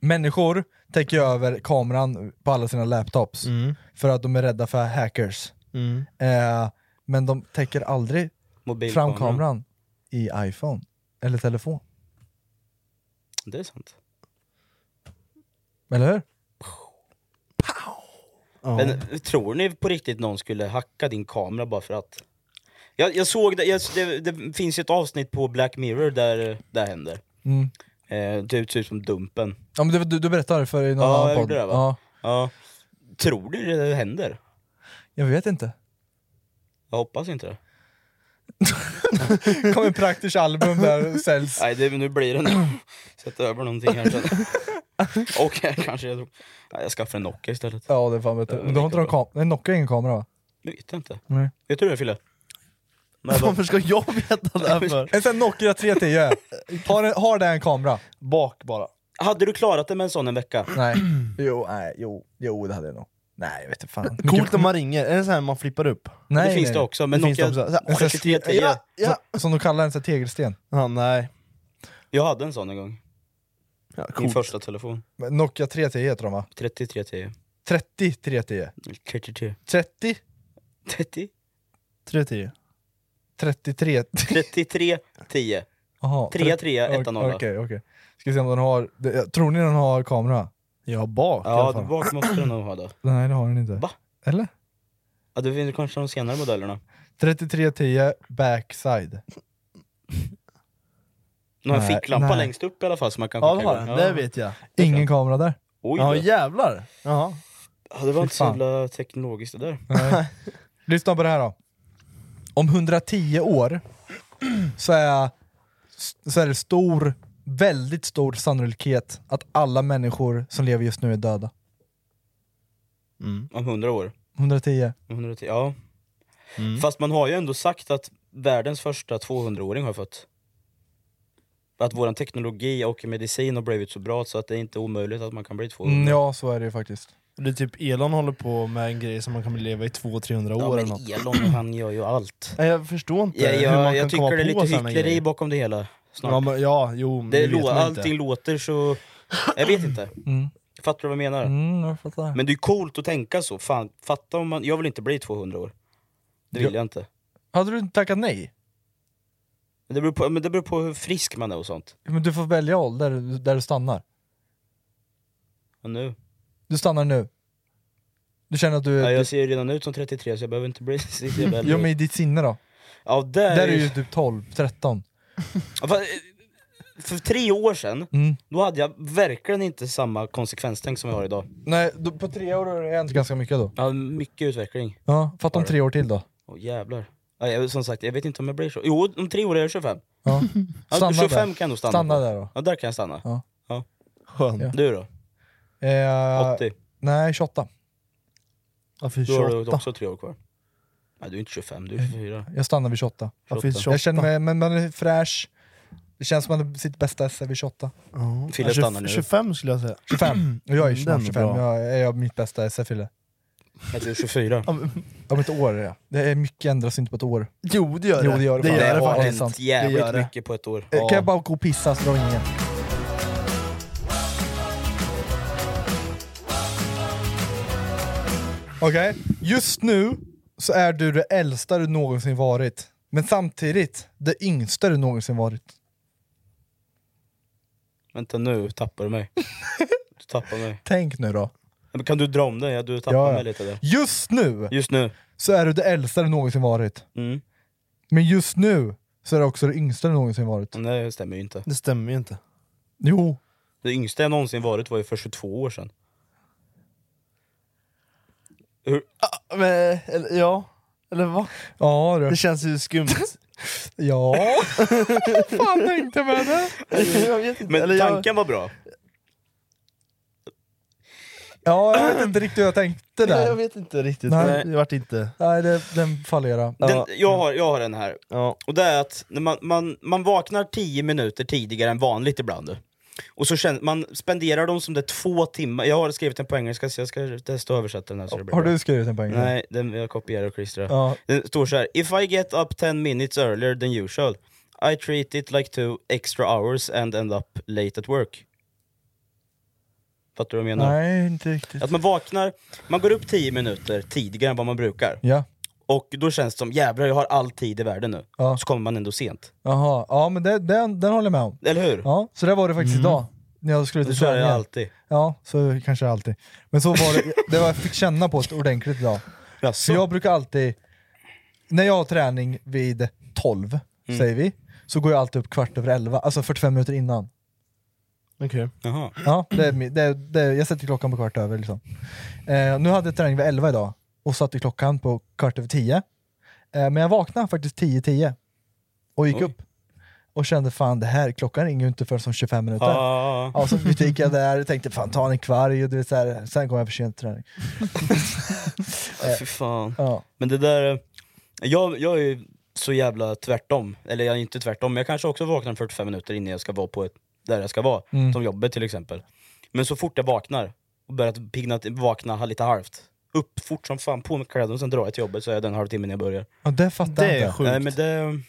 [SPEAKER 3] Människor täcker över kameran på alla sina laptops
[SPEAKER 4] Mm.
[SPEAKER 3] för att de är rädda för hackers.
[SPEAKER 4] Mm.
[SPEAKER 3] Eh, men de täcker aldrig fram
[SPEAKER 5] *laughs* Mobilkameran.
[SPEAKER 3] kameran i iPhone eller telefon.
[SPEAKER 5] Det är sant.
[SPEAKER 3] Eller hur?
[SPEAKER 4] Ja.
[SPEAKER 5] Men tror ni på riktigt någon skulle hacka din kamera bara för att? Jag, jag såg det, jag, det, det finns ju ett avsnitt på Black Mirror där det här händer.
[SPEAKER 3] Mm.
[SPEAKER 5] Eh, det ser ut som Dumpen.
[SPEAKER 3] Ja, men du, du, du berättade för i någon
[SPEAKER 5] Ja,
[SPEAKER 3] annan
[SPEAKER 5] jag
[SPEAKER 3] podd.
[SPEAKER 5] gjorde det, va?
[SPEAKER 3] Ja,
[SPEAKER 5] Ja. Tror du det händer?
[SPEAKER 3] jag vet inte.
[SPEAKER 5] Jag hoppas inte det.
[SPEAKER 3] kommer ett praktiskt album där
[SPEAKER 4] *laughs*
[SPEAKER 3] och säljs.
[SPEAKER 5] Nej, det, nu blir det nu. *clears throat* Sätt över någonting här
[SPEAKER 4] *laughs*
[SPEAKER 5] sen. Och här kanske jag tror. Nej, jag skaffar en Nokia istället.
[SPEAKER 3] Ja det är fan bättre. Men du har inte någon kamera? Nej, Nokia har ingen kamera va?
[SPEAKER 5] Det vet jag inte.
[SPEAKER 3] Nej.
[SPEAKER 5] Vet du det
[SPEAKER 4] *laughs*
[SPEAKER 5] Fille? Men jag bara,
[SPEAKER 4] *laughs* Varför ska jag veta det här för?
[SPEAKER 3] En sån här Nokia 310. Har, den- har den en kamera?
[SPEAKER 4] Bak bara.
[SPEAKER 5] hade du klarat det med en sån en vecka?
[SPEAKER 3] Nej. *clears throat* Jo, nej, jo, jo det hade jag nog. Nej jag vet inte fan.
[SPEAKER 4] Coolt när man ringer, är det så här man flippar upp?
[SPEAKER 3] Nej,
[SPEAKER 5] det finns
[SPEAKER 3] nej.
[SPEAKER 5] det också, men
[SPEAKER 4] Det finns
[SPEAKER 5] Nokia,
[SPEAKER 4] det
[SPEAKER 5] Nokia
[SPEAKER 4] också.
[SPEAKER 3] En sån här-
[SPEAKER 5] 310.
[SPEAKER 4] Ja, ja.
[SPEAKER 3] Så- Som de kallar en sån här tegelsten.
[SPEAKER 4] Ja, nej.
[SPEAKER 5] Jag hade en sån en gång.
[SPEAKER 4] Ja,
[SPEAKER 5] Min
[SPEAKER 4] coolt.
[SPEAKER 5] första telefon.
[SPEAKER 3] Men Nokia 310 heter de va?
[SPEAKER 5] 3310.
[SPEAKER 3] 30 310.
[SPEAKER 5] 33.
[SPEAKER 3] 30?
[SPEAKER 5] 30?
[SPEAKER 4] 310.
[SPEAKER 3] 33?
[SPEAKER 5] 33 10.
[SPEAKER 3] *laughs* Jaha.
[SPEAKER 5] 3 3 1 0.
[SPEAKER 3] Okej, okej. Ska se om den har... det- Tror ni den har kamera?
[SPEAKER 4] Ja, bak i
[SPEAKER 5] Ja,
[SPEAKER 4] alla fall.
[SPEAKER 5] bak måste den nog ha då.
[SPEAKER 3] Nej det har den inte.
[SPEAKER 5] Va?
[SPEAKER 3] Eller?
[SPEAKER 5] Ja, det finns kanske de senare modellerna.
[SPEAKER 3] 3310 backside.
[SPEAKER 5] De har en
[SPEAKER 3] Nej,
[SPEAKER 5] ficklampa
[SPEAKER 3] nej.
[SPEAKER 5] längst upp i alla fall som man kan
[SPEAKER 4] Ja,
[SPEAKER 5] skicka
[SPEAKER 4] det har
[SPEAKER 5] iväg.
[SPEAKER 4] den. Det vet jag.
[SPEAKER 3] Ingen kamera där.
[SPEAKER 5] Oj
[SPEAKER 4] Ja,
[SPEAKER 5] då.
[SPEAKER 4] jävlar. Jaha.
[SPEAKER 5] ja, det
[SPEAKER 3] Fy
[SPEAKER 5] var inte så
[SPEAKER 3] fan.
[SPEAKER 5] jävla teknologiskt det där.
[SPEAKER 3] Nej. Lyssna på det här då. Om 110 år så är, så är det stor, väldigt stor sannolikhet att alla människor som lever just nu är döda.
[SPEAKER 5] Om 100 år.
[SPEAKER 3] 110.
[SPEAKER 5] 110, ja. Fast man har ju ändå sagt att världens första 200-åring har fött. att vår teknologi och medicin har blivit så bra så att det är inte är omöjligt att man kan bli 200.
[SPEAKER 3] Mm, ja, så är det ju faktiskt.
[SPEAKER 4] Det är typ Elon håller på med en grej som man kan leva i 200-300 år
[SPEAKER 5] Ja,
[SPEAKER 4] eller
[SPEAKER 5] men
[SPEAKER 4] något. *clears throat*
[SPEAKER 5] Elon han gör ju allt.
[SPEAKER 4] Nej, Jag förstår inte
[SPEAKER 5] Ja,
[SPEAKER 4] hur
[SPEAKER 5] jag
[SPEAKER 4] man kan
[SPEAKER 5] jag
[SPEAKER 4] komma
[SPEAKER 5] tycker det är
[SPEAKER 4] på
[SPEAKER 5] lite
[SPEAKER 4] såna
[SPEAKER 5] hyckleri
[SPEAKER 4] grejer.
[SPEAKER 5] bakom det hela. snart.
[SPEAKER 4] Ja, men, ja, jo, men
[SPEAKER 5] Det
[SPEAKER 4] det
[SPEAKER 5] lå-
[SPEAKER 4] vet man inte. Mm.
[SPEAKER 5] allting låter så... Jag vet
[SPEAKER 4] *clears throat*
[SPEAKER 5] inte. Fattar du vad jag menar?
[SPEAKER 3] Mm, jag fattar.
[SPEAKER 5] Men det är coolt att tänka så. Fan, fatta om man... Jag vill inte bli 200 år. Det vill
[SPEAKER 3] Ja.
[SPEAKER 5] jag inte.
[SPEAKER 3] Hade du inte tackat nej?
[SPEAKER 5] Men det, beror på, men det beror på hur frisk man är och sånt.
[SPEAKER 3] Men du får välja ålder där du stannar.
[SPEAKER 5] Och nu?
[SPEAKER 3] Du stannar nu. Du känner att du...
[SPEAKER 5] Ja,
[SPEAKER 3] du
[SPEAKER 5] jag ser ju redan ut som 33 så jag behöver inte bli *laughs* så jävla äldre.
[SPEAKER 3] jo men i ditt sinne då?
[SPEAKER 5] Ja, där,
[SPEAKER 3] Där är ju typ 12, 13.
[SPEAKER 5] Ja, fa- För tre år sedan,
[SPEAKER 4] Mm.
[SPEAKER 5] då hade jag verkligen inte samma konsekvenstänk som jag har idag.
[SPEAKER 3] Nej, då, på tre år har det hänt ganska mycket då.
[SPEAKER 5] Ja, mycket utveckling.
[SPEAKER 3] Ja, fatta om
[SPEAKER 5] Har det.
[SPEAKER 3] tre år till då.
[SPEAKER 5] Åh jävlar. Ja, jag, som sagt, jag vet inte om jag blir så. Jo, om tre år är jag 25.
[SPEAKER 3] Ja.
[SPEAKER 5] Ja,
[SPEAKER 3] Stanna
[SPEAKER 5] 25 kan
[SPEAKER 3] där.
[SPEAKER 5] jag nog stanna
[SPEAKER 3] Stanna
[SPEAKER 5] på.
[SPEAKER 3] där då.
[SPEAKER 5] Ja, där kan jag stanna.
[SPEAKER 3] Ja.
[SPEAKER 5] Ja.
[SPEAKER 3] Ja.
[SPEAKER 5] Du då?
[SPEAKER 3] Eh,
[SPEAKER 5] 80.
[SPEAKER 3] Nej, 28.
[SPEAKER 5] Då har du också tre år kvar. Nej, du är inte 25, du är 24.
[SPEAKER 3] Jag stannar vid 28.
[SPEAKER 5] Ja, för 28.
[SPEAKER 3] Jag känner mig, men man är fräsch. Det känns som att man är sitt bästa esse vid 28.
[SPEAKER 4] Ja.
[SPEAKER 5] Fille
[SPEAKER 4] Ja, tjugo-
[SPEAKER 5] stannar nu.
[SPEAKER 4] 25 skulle jag säga.
[SPEAKER 3] 25. Och jag är
[SPEAKER 4] Mm, den
[SPEAKER 3] snart
[SPEAKER 4] är
[SPEAKER 3] 25.
[SPEAKER 4] bra.
[SPEAKER 3] Jag är jag mitt bästa esse Fille.
[SPEAKER 5] Nej, du är 24.
[SPEAKER 3] Om ett år är jag. Det är mycket ändras inte på ett år.
[SPEAKER 4] *clears throat* Jo det gör det.
[SPEAKER 3] Jo, det gör det fan.
[SPEAKER 5] Det har
[SPEAKER 3] Ja, det är sant.
[SPEAKER 5] hänt
[SPEAKER 3] Det gör
[SPEAKER 5] jävligt
[SPEAKER 3] det.
[SPEAKER 5] mycket på ett år.
[SPEAKER 3] Eh, Kan jag bara gå och pissa så drar vi ingen. Okej, just nu så är du det äldsta du någonsin varit. Men samtidigt det yngsta du någonsin varit.
[SPEAKER 5] Vänta nu, tappar du
[SPEAKER 3] *laughs*
[SPEAKER 5] mig. Du tappar mig.
[SPEAKER 3] Tänk nu då.
[SPEAKER 5] Ja, Men kan du dra om det? Ja, du tappar
[SPEAKER 3] Ja, ja.
[SPEAKER 5] mig lite där.
[SPEAKER 3] Just nu
[SPEAKER 5] Just nu.
[SPEAKER 3] så är du det äldsta du någonsin varit.
[SPEAKER 5] Mm.
[SPEAKER 3] Men just nu så är du också det yngsta du någonsin varit.
[SPEAKER 5] Nej, det stämmer ju inte.
[SPEAKER 4] Det stämmer ju inte.
[SPEAKER 3] Jo,
[SPEAKER 5] Det yngsta jag någonsin varit var ju för 22 år sedan. Hur?
[SPEAKER 4] Ah, Men, eller, ja, eller vad?
[SPEAKER 3] ja du.
[SPEAKER 4] Det känns
[SPEAKER 5] *laughs*
[SPEAKER 4] ju skumt.
[SPEAKER 3] Ja. Fan tänkte jag med det.
[SPEAKER 4] jag vet inte.
[SPEAKER 5] Men
[SPEAKER 4] *laughs* eller jag-
[SPEAKER 5] tanken var bra.
[SPEAKER 3] Ja, jag vet inte riktigt hur jag tänkte
[SPEAKER 4] Nej, Jag
[SPEAKER 3] där.
[SPEAKER 4] vet inte riktigt.
[SPEAKER 3] Nej.
[SPEAKER 4] Det vart inte...
[SPEAKER 3] Nej, det, den fallerar.
[SPEAKER 5] Den, jag, har, jag har den här.
[SPEAKER 4] Ja.
[SPEAKER 5] Och det är att när man, man, man vaknar 10 minuter tidigare än vanligt ibland. Och så känner, man spenderar dem som det är två timmar. Jag har skrivit den på engelska så jag ska testa att översätta den här. Så det blir
[SPEAKER 3] Har
[SPEAKER 5] bra.
[SPEAKER 3] du skrivit den på engelska?
[SPEAKER 5] Nej, den, jag kopierar och klistrar.
[SPEAKER 3] Ja.
[SPEAKER 5] Det står så här. If I get up 10 minutes earlier than usual, I treat it like two extra hours and end up late at work. Fattar du vad jag menar?
[SPEAKER 3] Nej, inte riktigt.
[SPEAKER 5] Att man vaknar, man går upp 10 minuter tidigare än vad man brukar.
[SPEAKER 3] Ja,
[SPEAKER 5] Och då känns det som jävlar jag har all tid i världen nu.
[SPEAKER 3] Ja.
[SPEAKER 5] Så kommer man ändå sent.
[SPEAKER 3] jaha. Ja, men det, den, den håller jag med om.
[SPEAKER 5] Eller hur?
[SPEAKER 3] Ja, så där var det faktiskt idag. När jag skulle till
[SPEAKER 5] Mm. Så är det
[SPEAKER 3] träningen.
[SPEAKER 5] alltid.
[SPEAKER 3] Ja, så kanske det alltid. Men så var det, det var jag fick känna på ett ordentligt idag. Så jag brukar alltid, när jag har träning vid 12,
[SPEAKER 5] Mm.
[SPEAKER 3] säger vi, så går jag alltid upp kvart över 11, alltså 45 minuter innan.
[SPEAKER 4] Okej.
[SPEAKER 5] Jaha.
[SPEAKER 3] Ja, det är, mi- det, det, jag sätter klockan på kvart över. Liksom. Eh, nu hade jag träning vid 11 idag och satte klockan på kvart över 10. Eh, men jag vaknade faktiskt 10.10 och gick
[SPEAKER 5] Oj.
[SPEAKER 3] upp och kände fan det här, klockan ringer ju inte förrän om 25 minuter.
[SPEAKER 5] Ja,
[SPEAKER 3] Ja, så gick jag där och tänkte fan ta en kvarg och du vet, så här, sen kom jag för sent till träning.
[SPEAKER 5] ja, fy fan.
[SPEAKER 3] Ja.
[SPEAKER 5] Men det där, eh, jag, jag är ju så jävla tvärtom. Eller jag är inte tvärtom, men jag kanske också vaknar 45 minuter innan jag ska vara på ett, där jag ska vara.
[SPEAKER 3] Mm.
[SPEAKER 5] Som jobbet till exempel. Men så fort jag vaknar, och börjar pigna, till- vakna ha- lite halvt. Upp fort som fan, på med kläderna och sen drar jag till jobbet så är jag den halvtimmen jag börjar.
[SPEAKER 3] Ja, det fattar
[SPEAKER 4] Det
[SPEAKER 3] jag
[SPEAKER 4] är
[SPEAKER 3] inte.
[SPEAKER 4] sjukt.
[SPEAKER 5] Nej men det,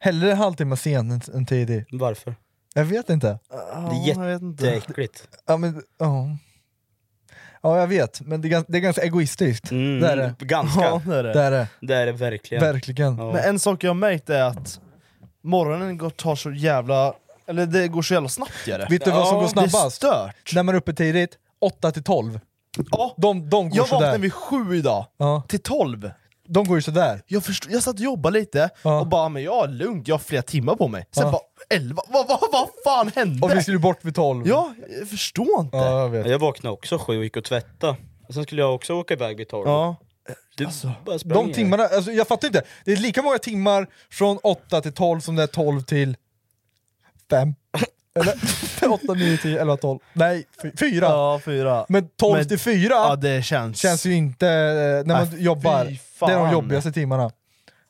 [SPEAKER 3] Hellre en halvtimme sen än, än tidig.
[SPEAKER 5] varför?
[SPEAKER 3] Jag vet inte.
[SPEAKER 5] Det är
[SPEAKER 4] jag vet inte.
[SPEAKER 5] jätteäckligt.
[SPEAKER 3] Ja, men, ja. ja jag vet, men det är, gans- det är ganska egoistiskt.
[SPEAKER 5] Mm,
[SPEAKER 3] Det är det.
[SPEAKER 5] Ganska.
[SPEAKER 4] Ja, det är det.
[SPEAKER 3] Det är det,
[SPEAKER 5] Det är det verkligen.
[SPEAKER 3] verkligen.
[SPEAKER 5] Ja.
[SPEAKER 4] Men en sak jag har märkt är att morgonen går, tar så jävla... Eller det går så jävla snabbt gör det.
[SPEAKER 3] Vet du vad som
[SPEAKER 4] Ja,
[SPEAKER 3] går
[SPEAKER 4] Det är
[SPEAKER 3] snabbast?
[SPEAKER 4] stört.
[SPEAKER 3] När man är uppe tidigt, 8 till 12.
[SPEAKER 4] Ja,
[SPEAKER 3] De, de går
[SPEAKER 4] jag vaknade
[SPEAKER 3] sådär.
[SPEAKER 4] vid sju idag,
[SPEAKER 3] Ja,
[SPEAKER 4] till tolv.
[SPEAKER 3] de går ju sådär.
[SPEAKER 4] Jag, förstod, jag satt och jobbade lite
[SPEAKER 3] Ja.
[SPEAKER 4] och bara men jag är lugnt, jag har flera timmar på mig. Sen
[SPEAKER 3] Ja.
[SPEAKER 4] bara 11, vad, vad, vad fan hände?
[SPEAKER 3] Och vi skulle bort vid 12.
[SPEAKER 4] Ja, jag förstår inte.
[SPEAKER 3] ja jag
[SPEAKER 5] Ja,
[SPEAKER 3] vet.
[SPEAKER 5] Jag vaknade också sju och gick och tvätta. Och Sen skulle jag också åka iväg vid tolv.
[SPEAKER 4] Ja.
[SPEAKER 5] Du bara sprang
[SPEAKER 3] De
[SPEAKER 5] iväg.
[SPEAKER 3] timmarna, alltså, jag fattar inte. Det är lika många timmar från 8 till 12 som det är 12 till
[SPEAKER 4] *laughs*
[SPEAKER 3] 5. Eller *laughs* 8, 9, 10, 11, 12. Nej, 4.
[SPEAKER 4] Ja, fyra.
[SPEAKER 3] Men 12
[SPEAKER 4] Men-
[SPEAKER 3] till 4
[SPEAKER 4] ja, det känns...
[SPEAKER 3] känns ju inte eh, när man
[SPEAKER 4] Nej,
[SPEAKER 3] jobbar.
[SPEAKER 4] fy
[SPEAKER 3] Det är de
[SPEAKER 4] fan.
[SPEAKER 3] jobbigaste timmarna.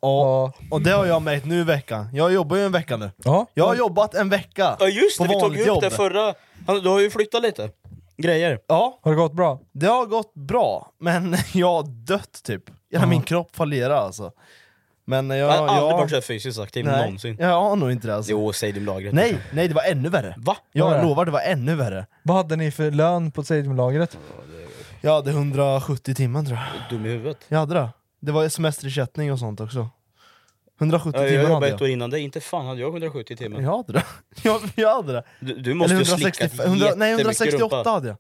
[SPEAKER 4] Ja. Och det har jag märkt nu i veckan. Jag jobbar ju en vecka nu. Jag har jobbat en vecka
[SPEAKER 5] Ja just det,
[SPEAKER 4] på
[SPEAKER 5] vi tog
[SPEAKER 4] vanligt
[SPEAKER 5] ju upp
[SPEAKER 4] jobb.
[SPEAKER 5] det förra... Han, du har ju flyttat lite grejer.
[SPEAKER 4] Ja.
[SPEAKER 3] Har det gått bra?
[SPEAKER 4] Det har gått bra, men *laughs* jag har dött typ. Hela min kropp fallerar alltså. Men jag,
[SPEAKER 5] Jag har aldrig
[SPEAKER 4] jag...
[SPEAKER 5] varit så här fysiskt aktiv
[SPEAKER 4] Nej.
[SPEAKER 5] någonsin.
[SPEAKER 4] Jag har nog inte det alltså.
[SPEAKER 5] Jo, säg din lagret.
[SPEAKER 4] Nej, nej det var ännu värre.
[SPEAKER 5] Va?
[SPEAKER 4] Jag
[SPEAKER 3] Var det?
[SPEAKER 4] lovar, det var ännu värre.
[SPEAKER 3] Vad hade ni för lön på Stadiumlagret?
[SPEAKER 4] Jag hade 170 timmar tror jag.
[SPEAKER 5] Dum i huvudet.
[SPEAKER 4] Jag hade det. Det var semesterersättning och sånt också. 170
[SPEAKER 5] Ja, jag
[SPEAKER 4] timmar
[SPEAKER 5] jobbade
[SPEAKER 4] hade
[SPEAKER 5] ett
[SPEAKER 4] jag.
[SPEAKER 5] år innan dig, inte fan hade jag 170 timmar.
[SPEAKER 4] Jag hade det. *laughs* Jag, jag hade det.
[SPEAKER 5] Du, du måste
[SPEAKER 4] Eller
[SPEAKER 5] ju ha slickat
[SPEAKER 4] 165 100 nej, 168
[SPEAKER 5] jättemycket
[SPEAKER 4] hade jag.
[SPEAKER 5] rumpa.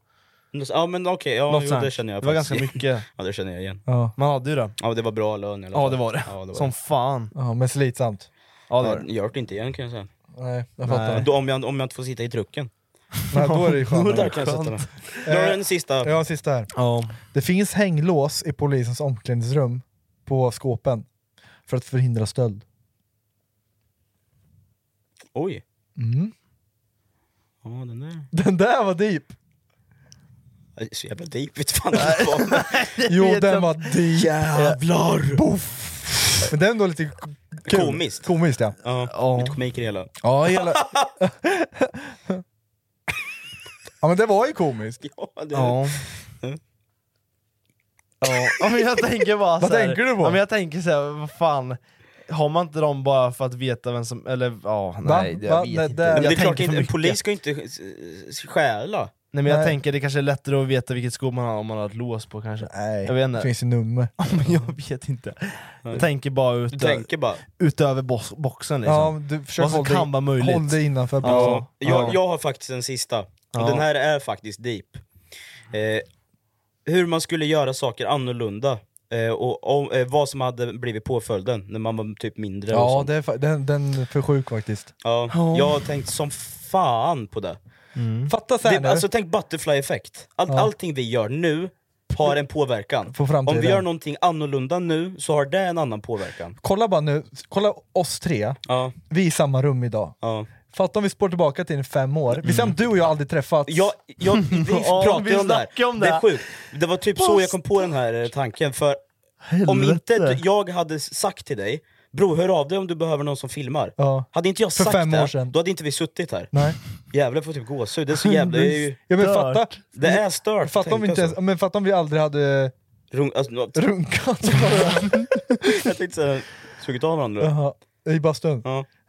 [SPEAKER 5] Ja men okej,
[SPEAKER 4] Något
[SPEAKER 5] ja, jo,
[SPEAKER 4] sånt.
[SPEAKER 5] det känner jag
[SPEAKER 4] Det var
[SPEAKER 5] faktiskt.
[SPEAKER 4] ganska mycket.
[SPEAKER 5] *laughs* ja det känner jag igen.
[SPEAKER 3] Ja.
[SPEAKER 4] Man hade ju det.
[SPEAKER 5] Ja det var bra lön i alla
[SPEAKER 4] Ja
[SPEAKER 5] fall.
[SPEAKER 4] det var det.
[SPEAKER 5] Ja, det var
[SPEAKER 4] Som fan.
[SPEAKER 3] Ja, men slitsamt.
[SPEAKER 5] Ja, det var det. Jag hört inte igen kan jag säga.
[SPEAKER 3] Nej, jag fattar.
[SPEAKER 5] Då, om, jag, om jag inte får sitta i trucken.
[SPEAKER 3] Nej, då är det ju skönare.
[SPEAKER 5] Där kan jag sätta mig. Då har du en sista.
[SPEAKER 3] Ja, sista här. Det finns hänglås i polisens omklädningsrum på skåpen för att förhindra stöld.
[SPEAKER 5] Oj.
[SPEAKER 3] Mm.
[SPEAKER 5] Ja den där.
[SPEAKER 3] Den där var deep!
[SPEAKER 5] Ja, det är Så jävla deep, vet fan vad det var.
[SPEAKER 3] Jo,
[SPEAKER 5] vet
[SPEAKER 3] den
[SPEAKER 5] jag.
[SPEAKER 3] var deep!
[SPEAKER 5] Jävlar!
[SPEAKER 3] Boff. Men den var lite k- kul.
[SPEAKER 5] Komiskt.
[SPEAKER 3] Komiskt ja.
[SPEAKER 5] Ja, lite komik i det hela.
[SPEAKER 3] Ja, hela... ja men det var ju komiskt.
[SPEAKER 5] Ja, det-
[SPEAKER 4] Ja. Ja. ja men jag tänker bara
[SPEAKER 3] Vad
[SPEAKER 4] så här,
[SPEAKER 3] tänker du på?
[SPEAKER 4] Ja, men jag tänker så här, vad fan. Har man inte dem bara för att veta vem som... Eller ja, nej det, jag
[SPEAKER 3] Va?
[SPEAKER 4] vet
[SPEAKER 3] Nej,
[SPEAKER 4] inte.
[SPEAKER 3] det-
[SPEAKER 5] Men
[SPEAKER 4] jag
[SPEAKER 5] det är klart,
[SPEAKER 4] tänker för
[SPEAKER 5] inte, en
[SPEAKER 4] mycket.
[SPEAKER 5] polis ska ju inte eh, stjäla.
[SPEAKER 4] Nej men jag
[SPEAKER 3] Nej.
[SPEAKER 4] tänker det kanske är lättare att veta vilket sko man har om man har ett lås på kanske.
[SPEAKER 3] Nej,
[SPEAKER 4] Jag vet inte.
[SPEAKER 3] det finns ju nummer.
[SPEAKER 4] *laughs* Ja, men jag vet inte.
[SPEAKER 5] Nej.
[SPEAKER 4] Jag tänker bara ut,
[SPEAKER 5] Du tänker bara.
[SPEAKER 4] utöver box, boxen liksom.
[SPEAKER 3] Ja, du försöker
[SPEAKER 4] Vad som
[SPEAKER 3] hålla
[SPEAKER 4] kan vara möjligt.
[SPEAKER 3] håll dig innanför.
[SPEAKER 5] Ja.
[SPEAKER 3] Ja.
[SPEAKER 5] Jag, jag har faktiskt en sista, och
[SPEAKER 4] Ja.
[SPEAKER 5] den här är faktiskt deep. Eh, hur man skulle göra saker annorlunda, eh, och om, eh, vad som hade blivit påföljden när man var typ mindre. och
[SPEAKER 3] Ja,
[SPEAKER 5] sånt.
[SPEAKER 3] det är, fa- den, den är för sjuk faktiskt.
[SPEAKER 5] ja, jag har tänkt som fan på det.
[SPEAKER 3] Fatta sen
[SPEAKER 5] det
[SPEAKER 3] nu.
[SPEAKER 5] alltså tänk butterfly-effekt. All, Allting vi gör nu har en påverkan.
[SPEAKER 3] På framtiden.
[SPEAKER 5] Om vi gör någonting annorlunda nu så har det en annan påverkan.
[SPEAKER 3] Kolla bara nu, kolla oss tre,
[SPEAKER 5] Ja,
[SPEAKER 3] vi är i samma rum idag.
[SPEAKER 5] ja.
[SPEAKER 3] Fatta om vi spår tillbaka till fem år, vi
[SPEAKER 4] Mm.
[SPEAKER 3] säger om du och jag aldrig träffats.
[SPEAKER 5] Jag, *laughs* jag, vi
[SPEAKER 4] Ja,
[SPEAKER 5] pratade
[SPEAKER 4] vi
[SPEAKER 5] om det här.
[SPEAKER 4] snackade om
[SPEAKER 5] Det är
[SPEAKER 4] det.
[SPEAKER 5] sjukt. Det var typ så jag kom på den här eh, tanken, för om inte du- jag hade sagt till dig Bro, hör av dig om du behöver någon som filmar.
[SPEAKER 3] Ja.
[SPEAKER 5] Hade inte jag
[SPEAKER 3] För
[SPEAKER 5] sagt
[SPEAKER 3] fem
[SPEAKER 5] det,
[SPEAKER 3] år sedan.
[SPEAKER 5] då hade inte vi suttit här.
[SPEAKER 3] Nej.
[SPEAKER 5] Jävlar, jag får typ gåshud. Det är så
[SPEAKER 3] *laughs*
[SPEAKER 5] jävla... Det är, ju,
[SPEAKER 3] Ja, men fatta,
[SPEAKER 5] det är stört.
[SPEAKER 3] fatta, om vi
[SPEAKER 5] tänkte
[SPEAKER 3] inte,
[SPEAKER 5] jag
[SPEAKER 3] ens-
[SPEAKER 5] så.
[SPEAKER 3] men fatta om vi aldrig hade
[SPEAKER 5] Rung, alltså, nå- *laughs*
[SPEAKER 3] runkat
[SPEAKER 5] jag tänkte såhär, sugit av varandra.
[SPEAKER 3] Jaha, i bastun.
[SPEAKER 5] Ja.
[SPEAKER 3] *clears throat*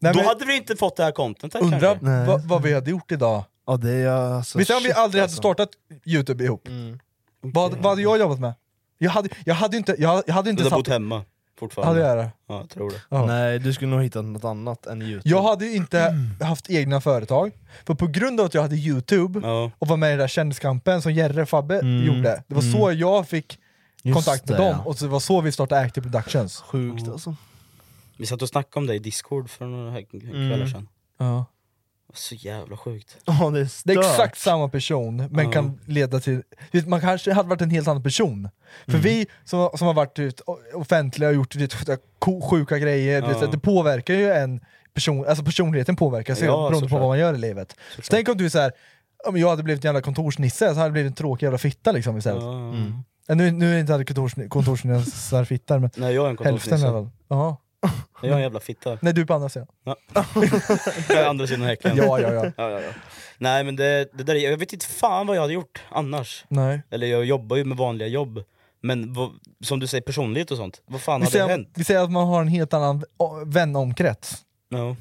[SPEAKER 3] Nej,
[SPEAKER 5] Då
[SPEAKER 3] men,
[SPEAKER 5] hade vi inte fått det här contentet
[SPEAKER 3] undra
[SPEAKER 5] kanske.
[SPEAKER 4] Nej.
[SPEAKER 3] vad, vad vi hade gjort idag.
[SPEAKER 4] Ja, det är alltså,
[SPEAKER 3] Vi säger om vi
[SPEAKER 4] shit,
[SPEAKER 3] aldrig hade
[SPEAKER 4] alltså.
[SPEAKER 3] startat Youtube ihop,
[SPEAKER 5] Mm.
[SPEAKER 3] vad, vad hade jag jobbat med? Jag hade, jag hade ju inte, jag, jag hade
[SPEAKER 5] Du
[SPEAKER 3] inte
[SPEAKER 5] hade
[SPEAKER 3] satt...
[SPEAKER 5] bott hemma fortfarande.
[SPEAKER 3] Hade jag det?
[SPEAKER 5] Ja, jag tror det.
[SPEAKER 3] Ja.
[SPEAKER 4] Nej, du skulle nog hitta något annat än Youtube.
[SPEAKER 3] Jag hade ju inte haft egna företag, för på grund av att jag hade Youtube
[SPEAKER 5] Ja.
[SPEAKER 3] och var med i den där kändiskampen som Jerre och Fabbe gjorde, det var så jag fick
[SPEAKER 4] Mm. Just
[SPEAKER 3] kontakt med
[SPEAKER 4] det,
[SPEAKER 3] dem
[SPEAKER 4] ja.
[SPEAKER 3] och så det var så vi startade Active Productions.
[SPEAKER 4] Sjukt alltså.
[SPEAKER 5] Vi satt och snackade om det i discord för några här kvällar sedan.
[SPEAKER 3] Ja.
[SPEAKER 5] Så jävla sjukt.
[SPEAKER 4] Ja, det är
[SPEAKER 3] Det är
[SPEAKER 4] stört.
[SPEAKER 3] exakt samma person, men kan leda till... du vet, Man kanske hade varit en helt annan person. För
[SPEAKER 5] Mm.
[SPEAKER 3] vi som, som har varit du vet, offentliga och gjort du vet, ko- sjuka grejer, du vet, det påverkar ju en person, alltså personligheten påverkas ju
[SPEAKER 5] Ja,
[SPEAKER 3] beroende på
[SPEAKER 5] såklart.
[SPEAKER 3] vad man gör i livet. Så tänk om du är såhär, om jag hade blivit en jävla kontorsnisse, så hade jag blivit en tråkig jävla fitta liksom istället.
[SPEAKER 5] Ja.
[SPEAKER 3] Ja, Nu, nu är det inte alla kontors- kontorsnissar
[SPEAKER 5] *laughs*
[SPEAKER 3] fittar, men
[SPEAKER 5] Nej jag är en
[SPEAKER 3] hälften i alla
[SPEAKER 5] kontorsnisse.
[SPEAKER 3] fall. Ja.
[SPEAKER 5] Jag är en jävla fitta.
[SPEAKER 3] Nej, du är på andra sidan.
[SPEAKER 5] Jag är andra sidan häcken.
[SPEAKER 3] Ja, ja, ja.
[SPEAKER 5] Ja, ja, ja. Nej men det, det där, är- jag vet inte fan vad jag hade gjort annars.
[SPEAKER 3] Nej.
[SPEAKER 5] Eller jag jobbar ju med vanliga jobb. Men vad, som du säger, personlighet och sånt. *laughs* Vad fan
[SPEAKER 3] Vi
[SPEAKER 5] hade
[SPEAKER 3] säger,
[SPEAKER 5] hänt?
[SPEAKER 3] vi säger att man har en helt annan å- vänomkrets.
[SPEAKER 5] Ja.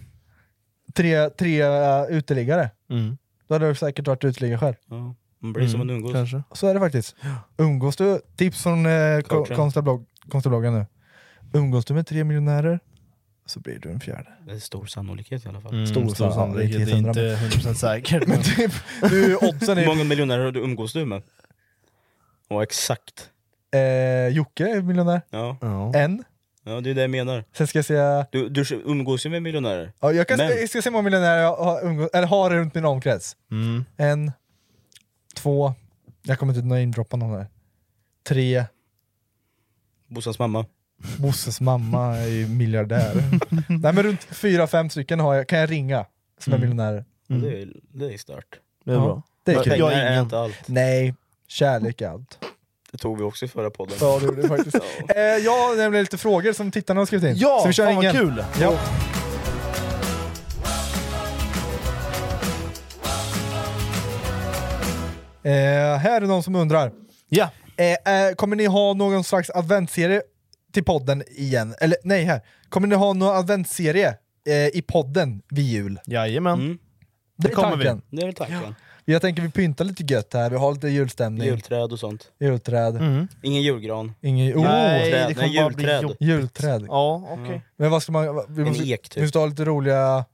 [SPEAKER 3] tre, tre eh, uteliggare.
[SPEAKER 4] Mm.
[SPEAKER 3] Då hade du säkert varit uteliggare själv.
[SPEAKER 5] ja. Man blir
[SPEAKER 3] Mm.
[SPEAKER 5] som en umgås.
[SPEAKER 4] Kanske.
[SPEAKER 3] Så är det faktiskt. Umgås du, tips från eh, ko-
[SPEAKER 5] Coachen.
[SPEAKER 3] konstablogg- konstabloggen nu. Umgås du med tre miljonärer så blir du en fjärde.
[SPEAKER 5] Det är stor sannolikhet i alla fall.
[SPEAKER 4] Mm,
[SPEAKER 3] Stor sannolikhet,
[SPEAKER 4] sannolikhet, det är inte 100% säkert. men-
[SPEAKER 3] Typ, du, oddsen
[SPEAKER 5] Hur
[SPEAKER 3] är...
[SPEAKER 5] många miljonärer du umgås du med? Ja exakt.
[SPEAKER 3] Eh, Jocke är miljonär.
[SPEAKER 5] Ja,
[SPEAKER 4] Ja.
[SPEAKER 3] En.
[SPEAKER 5] ja det är det jag menar.
[SPEAKER 3] Sen ska jag säga...
[SPEAKER 5] Du, du umgås ju med miljonärer.
[SPEAKER 3] Ja, jag, kan,
[SPEAKER 5] Men-
[SPEAKER 3] jag ska säga hur många miljonärer jag har, umgås, eller har runt min omkrets.
[SPEAKER 4] Mm.
[SPEAKER 3] En. Två. Jag kommer inte namedroppa någon här. Tre.
[SPEAKER 5] Bossans mamma.
[SPEAKER 3] Bosses mamma är ju *laughs* miljardär. Nej men runt 4-5 stycken har jag, kan jag ringa som är miljonärer.
[SPEAKER 5] Det, är, det är stört.
[SPEAKER 4] Det är
[SPEAKER 3] Ja.
[SPEAKER 4] bra.
[SPEAKER 3] Det är
[SPEAKER 5] Men
[SPEAKER 3] kul.
[SPEAKER 5] pengar
[SPEAKER 4] Jag är
[SPEAKER 5] är
[SPEAKER 4] ingen.
[SPEAKER 5] inte allt.
[SPEAKER 3] Nej, kärlek är allt.
[SPEAKER 5] Det tog vi också i förra podden.
[SPEAKER 3] Ja, det gjorde
[SPEAKER 5] *laughs*
[SPEAKER 3] vi faktiskt. eh, jag har nämligen lite frågor som tittarna har skrivit in.
[SPEAKER 5] Ja,
[SPEAKER 3] så vi kör
[SPEAKER 5] fan vad
[SPEAKER 3] ingen.
[SPEAKER 5] kul.
[SPEAKER 3] Ja. Eh, här är någon som undrar.
[SPEAKER 4] Ja.
[SPEAKER 3] Eh, eh, kommer ni ha någon slags adventsserie till podden igen? Eller nej, här. Kommer ni ha någon adventsserie eh, i podden vid jul?
[SPEAKER 4] Jajamän.
[SPEAKER 5] Mm.
[SPEAKER 3] Det,
[SPEAKER 4] Det
[SPEAKER 3] är
[SPEAKER 4] kommer vi.
[SPEAKER 3] tanken.
[SPEAKER 5] Det är väl tanken.
[SPEAKER 3] Jag tänker vi pyntar lite gött här, vi har lite julstämning.
[SPEAKER 5] Julträd och sånt.
[SPEAKER 3] Julträd.
[SPEAKER 4] Mm.
[SPEAKER 5] Ingen julgran.
[SPEAKER 3] Ingen, oh,
[SPEAKER 5] nej, det kommer nej, julträd.
[SPEAKER 3] julträd. Julträd.
[SPEAKER 4] Ja, okej.
[SPEAKER 3] Men vad ska man... vad- Vi
[SPEAKER 5] En
[SPEAKER 3] måste,
[SPEAKER 5] ek, typ.
[SPEAKER 3] vi måste ha lite roliga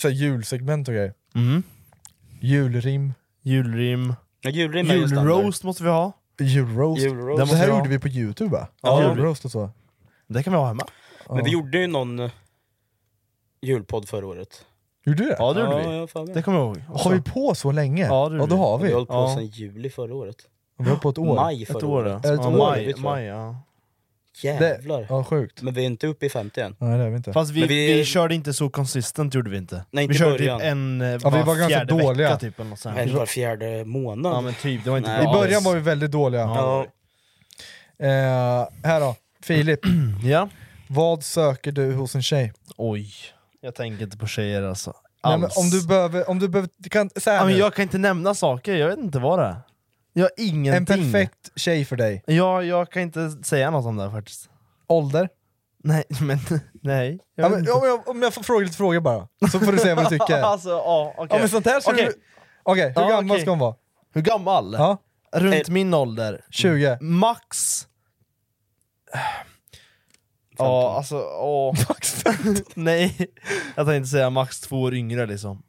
[SPEAKER 3] så här, julsegment och grejer.
[SPEAKER 4] Mm.
[SPEAKER 3] Julrim.
[SPEAKER 4] Julrim.
[SPEAKER 5] Ja, julrim är ju standard.
[SPEAKER 4] Julroast måste vi ha.
[SPEAKER 3] Julroast.
[SPEAKER 5] Julroast.
[SPEAKER 3] Det,
[SPEAKER 5] Det måste
[SPEAKER 3] här
[SPEAKER 5] vi ha.
[SPEAKER 3] gjorde vi på youtube va?
[SPEAKER 5] Ja.
[SPEAKER 3] Julroast och så.
[SPEAKER 4] Det kan vi ha hemma.
[SPEAKER 5] Men vi gjorde ju någon eh, julpodd förra året.
[SPEAKER 3] Gjorde du det?
[SPEAKER 4] Ja, det gjorde
[SPEAKER 5] Ja,
[SPEAKER 4] vi.
[SPEAKER 5] jag fan med.
[SPEAKER 4] det kommer jag ihåg.
[SPEAKER 3] Har vi på så länge?
[SPEAKER 4] Ja, det
[SPEAKER 3] ja då har
[SPEAKER 5] Vi
[SPEAKER 3] vi.
[SPEAKER 5] har hållit på
[SPEAKER 4] Ja.
[SPEAKER 5] sedan juli förra året.
[SPEAKER 3] Vi har på ett år.
[SPEAKER 5] Maj förra
[SPEAKER 4] Ett år, ja.
[SPEAKER 5] året.
[SPEAKER 3] Ett
[SPEAKER 4] ja,
[SPEAKER 3] år.
[SPEAKER 4] Maj,
[SPEAKER 5] tror jag.
[SPEAKER 4] maj, ja.
[SPEAKER 5] Jävlar.
[SPEAKER 3] Ja, sjukt.
[SPEAKER 5] Men vi är inte uppe i 50 än.
[SPEAKER 3] Nej det är vi inte.
[SPEAKER 4] Fast vi,
[SPEAKER 5] Men
[SPEAKER 4] vi...
[SPEAKER 5] vi-
[SPEAKER 4] körde inte så konsistent gjorde vi inte.
[SPEAKER 5] Nej, inte
[SPEAKER 4] vi
[SPEAKER 5] i
[SPEAKER 4] körde
[SPEAKER 5] början.
[SPEAKER 4] typ en eh,
[SPEAKER 3] Ja, vi var ganska
[SPEAKER 4] fjärde
[SPEAKER 3] dåliga.
[SPEAKER 4] vecka typ eller något sånt.
[SPEAKER 5] Eller var fjärde månad.
[SPEAKER 4] Ja men typ, det var inte
[SPEAKER 5] Nej.
[SPEAKER 4] bra.
[SPEAKER 3] I början var vi väldigt dåliga.
[SPEAKER 5] Ja.
[SPEAKER 3] Eh, här då, Filip.
[SPEAKER 4] Ja.
[SPEAKER 3] Vad söker du hos en tjej?
[SPEAKER 4] Oj. Jag tänker inte på tjejer alltså.
[SPEAKER 3] Nej, men
[SPEAKER 4] Alls.
[SPEAKER 3] om du behöver... Om du behöver du kan, så här
[SPEAKER 4] ja, men
[SPEAKER 3] nu.
[SPEAKER 4] jag kan inte nämna saker, jag vet inte vad det är. Jag har ingenting.
[SPEAKER 3] En perfekt tjej för dig.
[SPEAKER 4] Ja, jag kan inte säga något om det här faktiskt.
[SPEAKER 3] Ålder?
[SPEAKER 4] Nej, *laughs* men nej. Jag
[SPEAKER 3] Ja,
[SPEAKER 4] vet
[SPEAKER 3] men,
[SPEAKER 4] inte.
[SPEAKER 3] om, jag, om jag får fråga lite frågor bara, så får du säga vad du tycker. Okej,
[SPEAKER 4] alltså, *laughs* ja, okej.
[SPEAKER 3] ja, men sånt här ska
[SPEAKER 4] Okej.
[SPEAKER 3] du... Okej, hur
[SPEAKER 4] Ja,
[SPEAKER 3] gammal
[SPEAKER 4] okej.
[SPEAKER 3] ska hon vara?
[SPEAKER 4] Hur gammal?
[SPEAKER 3] Ja,
[SPEAKER 4] Runt
[SPEAKER 5] Eh,
[SPEAKER 4] min ålder.
[SPEAKER 3] 20.
[SPEAKER 4] Mm.
[SPEAKER 3] *sighs*
[SPEAKER 4] Max... Ja, alltså...
[SPEAKER 3] *laughs*
[SPEAKER 4] Ja. Max Nej, jag tänkte säga max två år yngre liksom.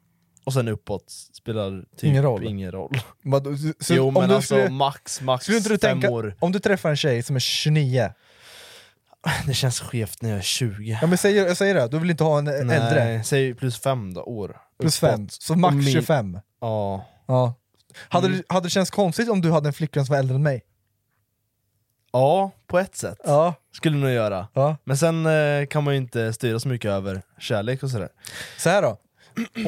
[SPEAKER 4] Och sen uppåt spelar typ
[SPEAKER 3] Ingen roll.
[SPEAKER 4] Ingen roll.
[SPEAKER 3] Vad- Så,
[SPEAKER 4] jo
[SPEAKER 3] om
[SPEAKER 4] men
[SPEAKER 3] du
[SPEAKER 4] alltså
[SPEAKER 3] skulle,
[SPEAKER 4] max, max
[SPEAKER 3] skulle inte du
[SPEAKER 4] fem
[SPEAKER 3] tänka, *laughs*
[SPEAKER 4] år.
[SPEAKER 3] om du träffar en tjej som är 29,
[SPEAKER 4] Det känns skevt när jag är 20.
[SPEAKER 3] ja, men säg, jag säger det, du vill inte ha en
[SPEAKER 4] Nej,
[SPEAKER 3] äldre,
[SPEAKER 4] Säg plus fem då, år.
[SPEAKER 3] plus
[SPEAKER 4] Uppåt.
[SPEAKER 3] 5, så max
[SPEAKER 4] Och Mm. min-
[SPEAKER 3] 25.
[SPEAKER 4] Ja.
[SPEAKER 3] Ja. Hade, det- hade det känts konstigt om du hade en flickvän som var äldre än mig?
[SPEAKER 4] ja, på ett sätt.
[SPEAKER 3] Ja.
[SPEAKER 4] Skulle du nog göra.
[SPEAKER 3] ja.
[SPEAKER 4] Men sen eh, kan man ju inte styra så mycket över kärlek och sådär.
[SPEAKER 3] Så här då,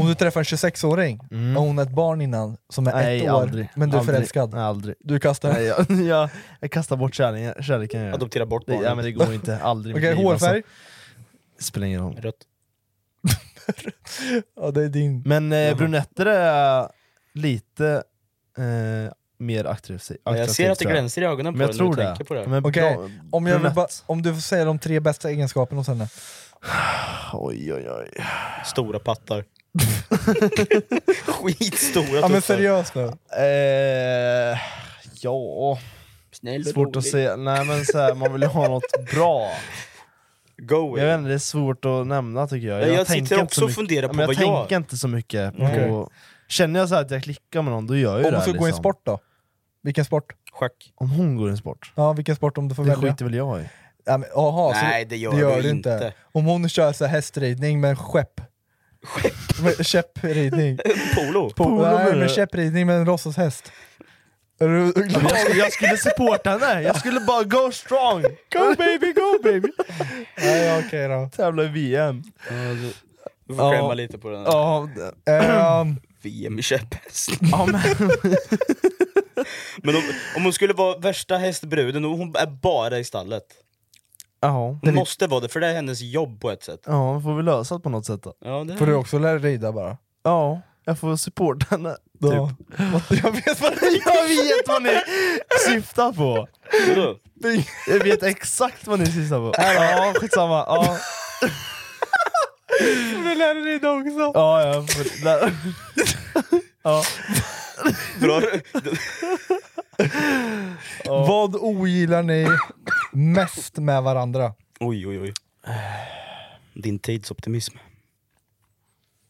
[SPEAKER 3] om du träffar en 26-åring och hon är ett barn innan som är ett år, men du är
[SPEAKER 4] Mm. aldrig.
[SPEAKER 3] förälskad.
[SPEAKER 4] Nej, aldrig.
[SPEAKER 3] Du kastar
[SPEAKER 4] Nej, jag, *laughs* jag, jag kastar bort kärleken. kärleken jag gör.
[SPEAKER 5] Adoptera bort
[SPEAKER 4] det,
[SPEAKER 5] barnet.
[SPEAKER 4] ja, men det går inte. Aldrig i
[SPEAKER 3] Okej,
[SPEAKER 4] mitt liv,
[SPEAKER 3] hårfärg?
[SPEAKER 4] Alltså. Spelar ingen
[SPEAKER 5] *laughs*
[SPEAKER 4] roll.
[SPEAKER 5] Rött.
[SPEAKER 3] Ja, det är din.
[SPEAKER 4] Men eh, brunetter är lite eh, mer attraktivt.
[SPEAKER 5] Ja, jag ser att det glänser i ögonen på
[SPEAKER 4] Men jag
[SPEAKER 5] dig
[SPEAKER 4] tror
[SPEAKER 5] när du
[SPEAKER 4] det.
[SPEAKER 5] tänker på det.
[SPEAKER 4] Men
[SPEAKER 3] Okej,
[SPEAKER 4] bra-
[SPEAKER 3] om, jag vill
[SPEAKER 4] brunett.
[SPEAKER 3] bara, om du får säga de tre bästa egenskaperna hos henne.
[SPEAKER 4] Oj, oj, oj.
[SPEAKER 5] Stora
[SPEAKER 4] *laughs*
[SPEAKER 5] pattar. Skitstora
[SPEAKER 3] Ja men
[SPEAKER 5] tuffar.
[SPEAKER 3] seriöst nu.
[SPEAKER 4] Eh, ja,
[SPEAKER 5] Snäll och
[SPEAKER 4] svårt att
[SPEAKER 5] rolig.
[SPEAKER 4] säga. Nej men så här, man vill ju ha något bra.
[SPEAKER 5] Go
[SPEAKER 4] Jag vet inte, det är svårt att nämna tycker jag.
[SPEAKER 5] Ja, jag
[SPEAKER 4] tänker
[SPEAKER 5] sitter
[SPEAKER 4] inte så
[SPEAKER 5] också och
[SPEAKER 4] mycket-
[SPEAKER 5] funderar
[SPEAKER 4] Ja,
[SPEAKER 5] på
[SPEAKER 4] men jag
[SPEAKER 5] vad jag-
[SPEAKER 4] tänker inte så mycket på...
[SPEAKER 3] Okej.
[SPEAKER 4] Känner jag så här att jag klickar med någon, då gör jag ju
[SPEAKER 3] Om
[SPEAKER 4] det
[SPEAKER 3] hon
[SPEAKER 4] här,
[SPEAKER 3] ska gå i en
[SPEAKER 4] liksom.
[SPEAKER 3] sport då? Vilken sport?
[SPEAKER 5] Schack.
[SPEAKER 4] Om hon går i en sport?
[SPEAKER 3] Ja vilken sport om du får
[SPEAKER 4] Det
[SPEAKER 3] välja?
[SPEAKER 4] skiter väl jag i?
[SPEAKER 3] Ja, men, aha, så
[SPEAKER 5] Nej, det gör du inte.
[SPEAKER 3] Om hon kör så här hästridning med en skepp. Med käppridning.
[SPEAKER 5] Polo.
[SPEAKER 3] Polo, Nej,
[SPEAKER 4] menar
[SPEAKER 3] men
[SPEAKER 4] du?
[SPEAKER 3] käppridning med en låtsashäst. Är du
[SPEAKER 4] *laughs* Jag,
[SPEAKER 3] glad?
[SPEAKER 4] skulle- jag skulle supporta henne, jag skulle bara go strong!
[SPEAKER 3] Go baby, go baby! Nej okej då.
[SPEAKER 4] Tävla i VM.
[SPEAKER 5] Du får skämma
[SPEAKER 4] Ja.
[SPEAKER 5] lite på den här.
[SPEAKER 4] Ja,
[SPEAKER 3] Ehm,
[SPEAKER 5] VM i käpphäst.
[SPEAKER 4] *laughs* ja, men,
[SPEAKER 5] *laughs* Men om, om hon skulle vara värsta hästbruden, och hon är bara i stallet.
[SPEAKER 4] ja,
[SPEAKER 5] Hon måste vara det, för det är hennes jobb på ett sätt.
[SPEAKER 4] ja, får vi lösa det på något sätt då.
[SPEAKER 5] Ja, det
[SPEAKER 3] får du också lära dig rida bara?
[SPEAKER 4] Ja, jag får supporta henne.
[SPEAKER 3] Ja.
[SPEAKER 4] Typ.
[SPEAKER 3] Jag vet vad det är!
[SPEAKER 4] *laughs* Jag vet vad ni syftar på!
[SPEAKER 5] Vadå?
[SPEAKER 4] Jag vet exakt vad ni syftar på. Ja, skitsamma. Ja.
[SPEAKER 3] Du lärde dig det också!
[SPEAKER 4] Ja, ja, för, där. ja.
[SPEAKER 5] Bra.
[SPEAKER 3] Vad ogillar ni mest med varandra?
[SPEAKER 5] Oj, oj, oj. Din tidsoptimism.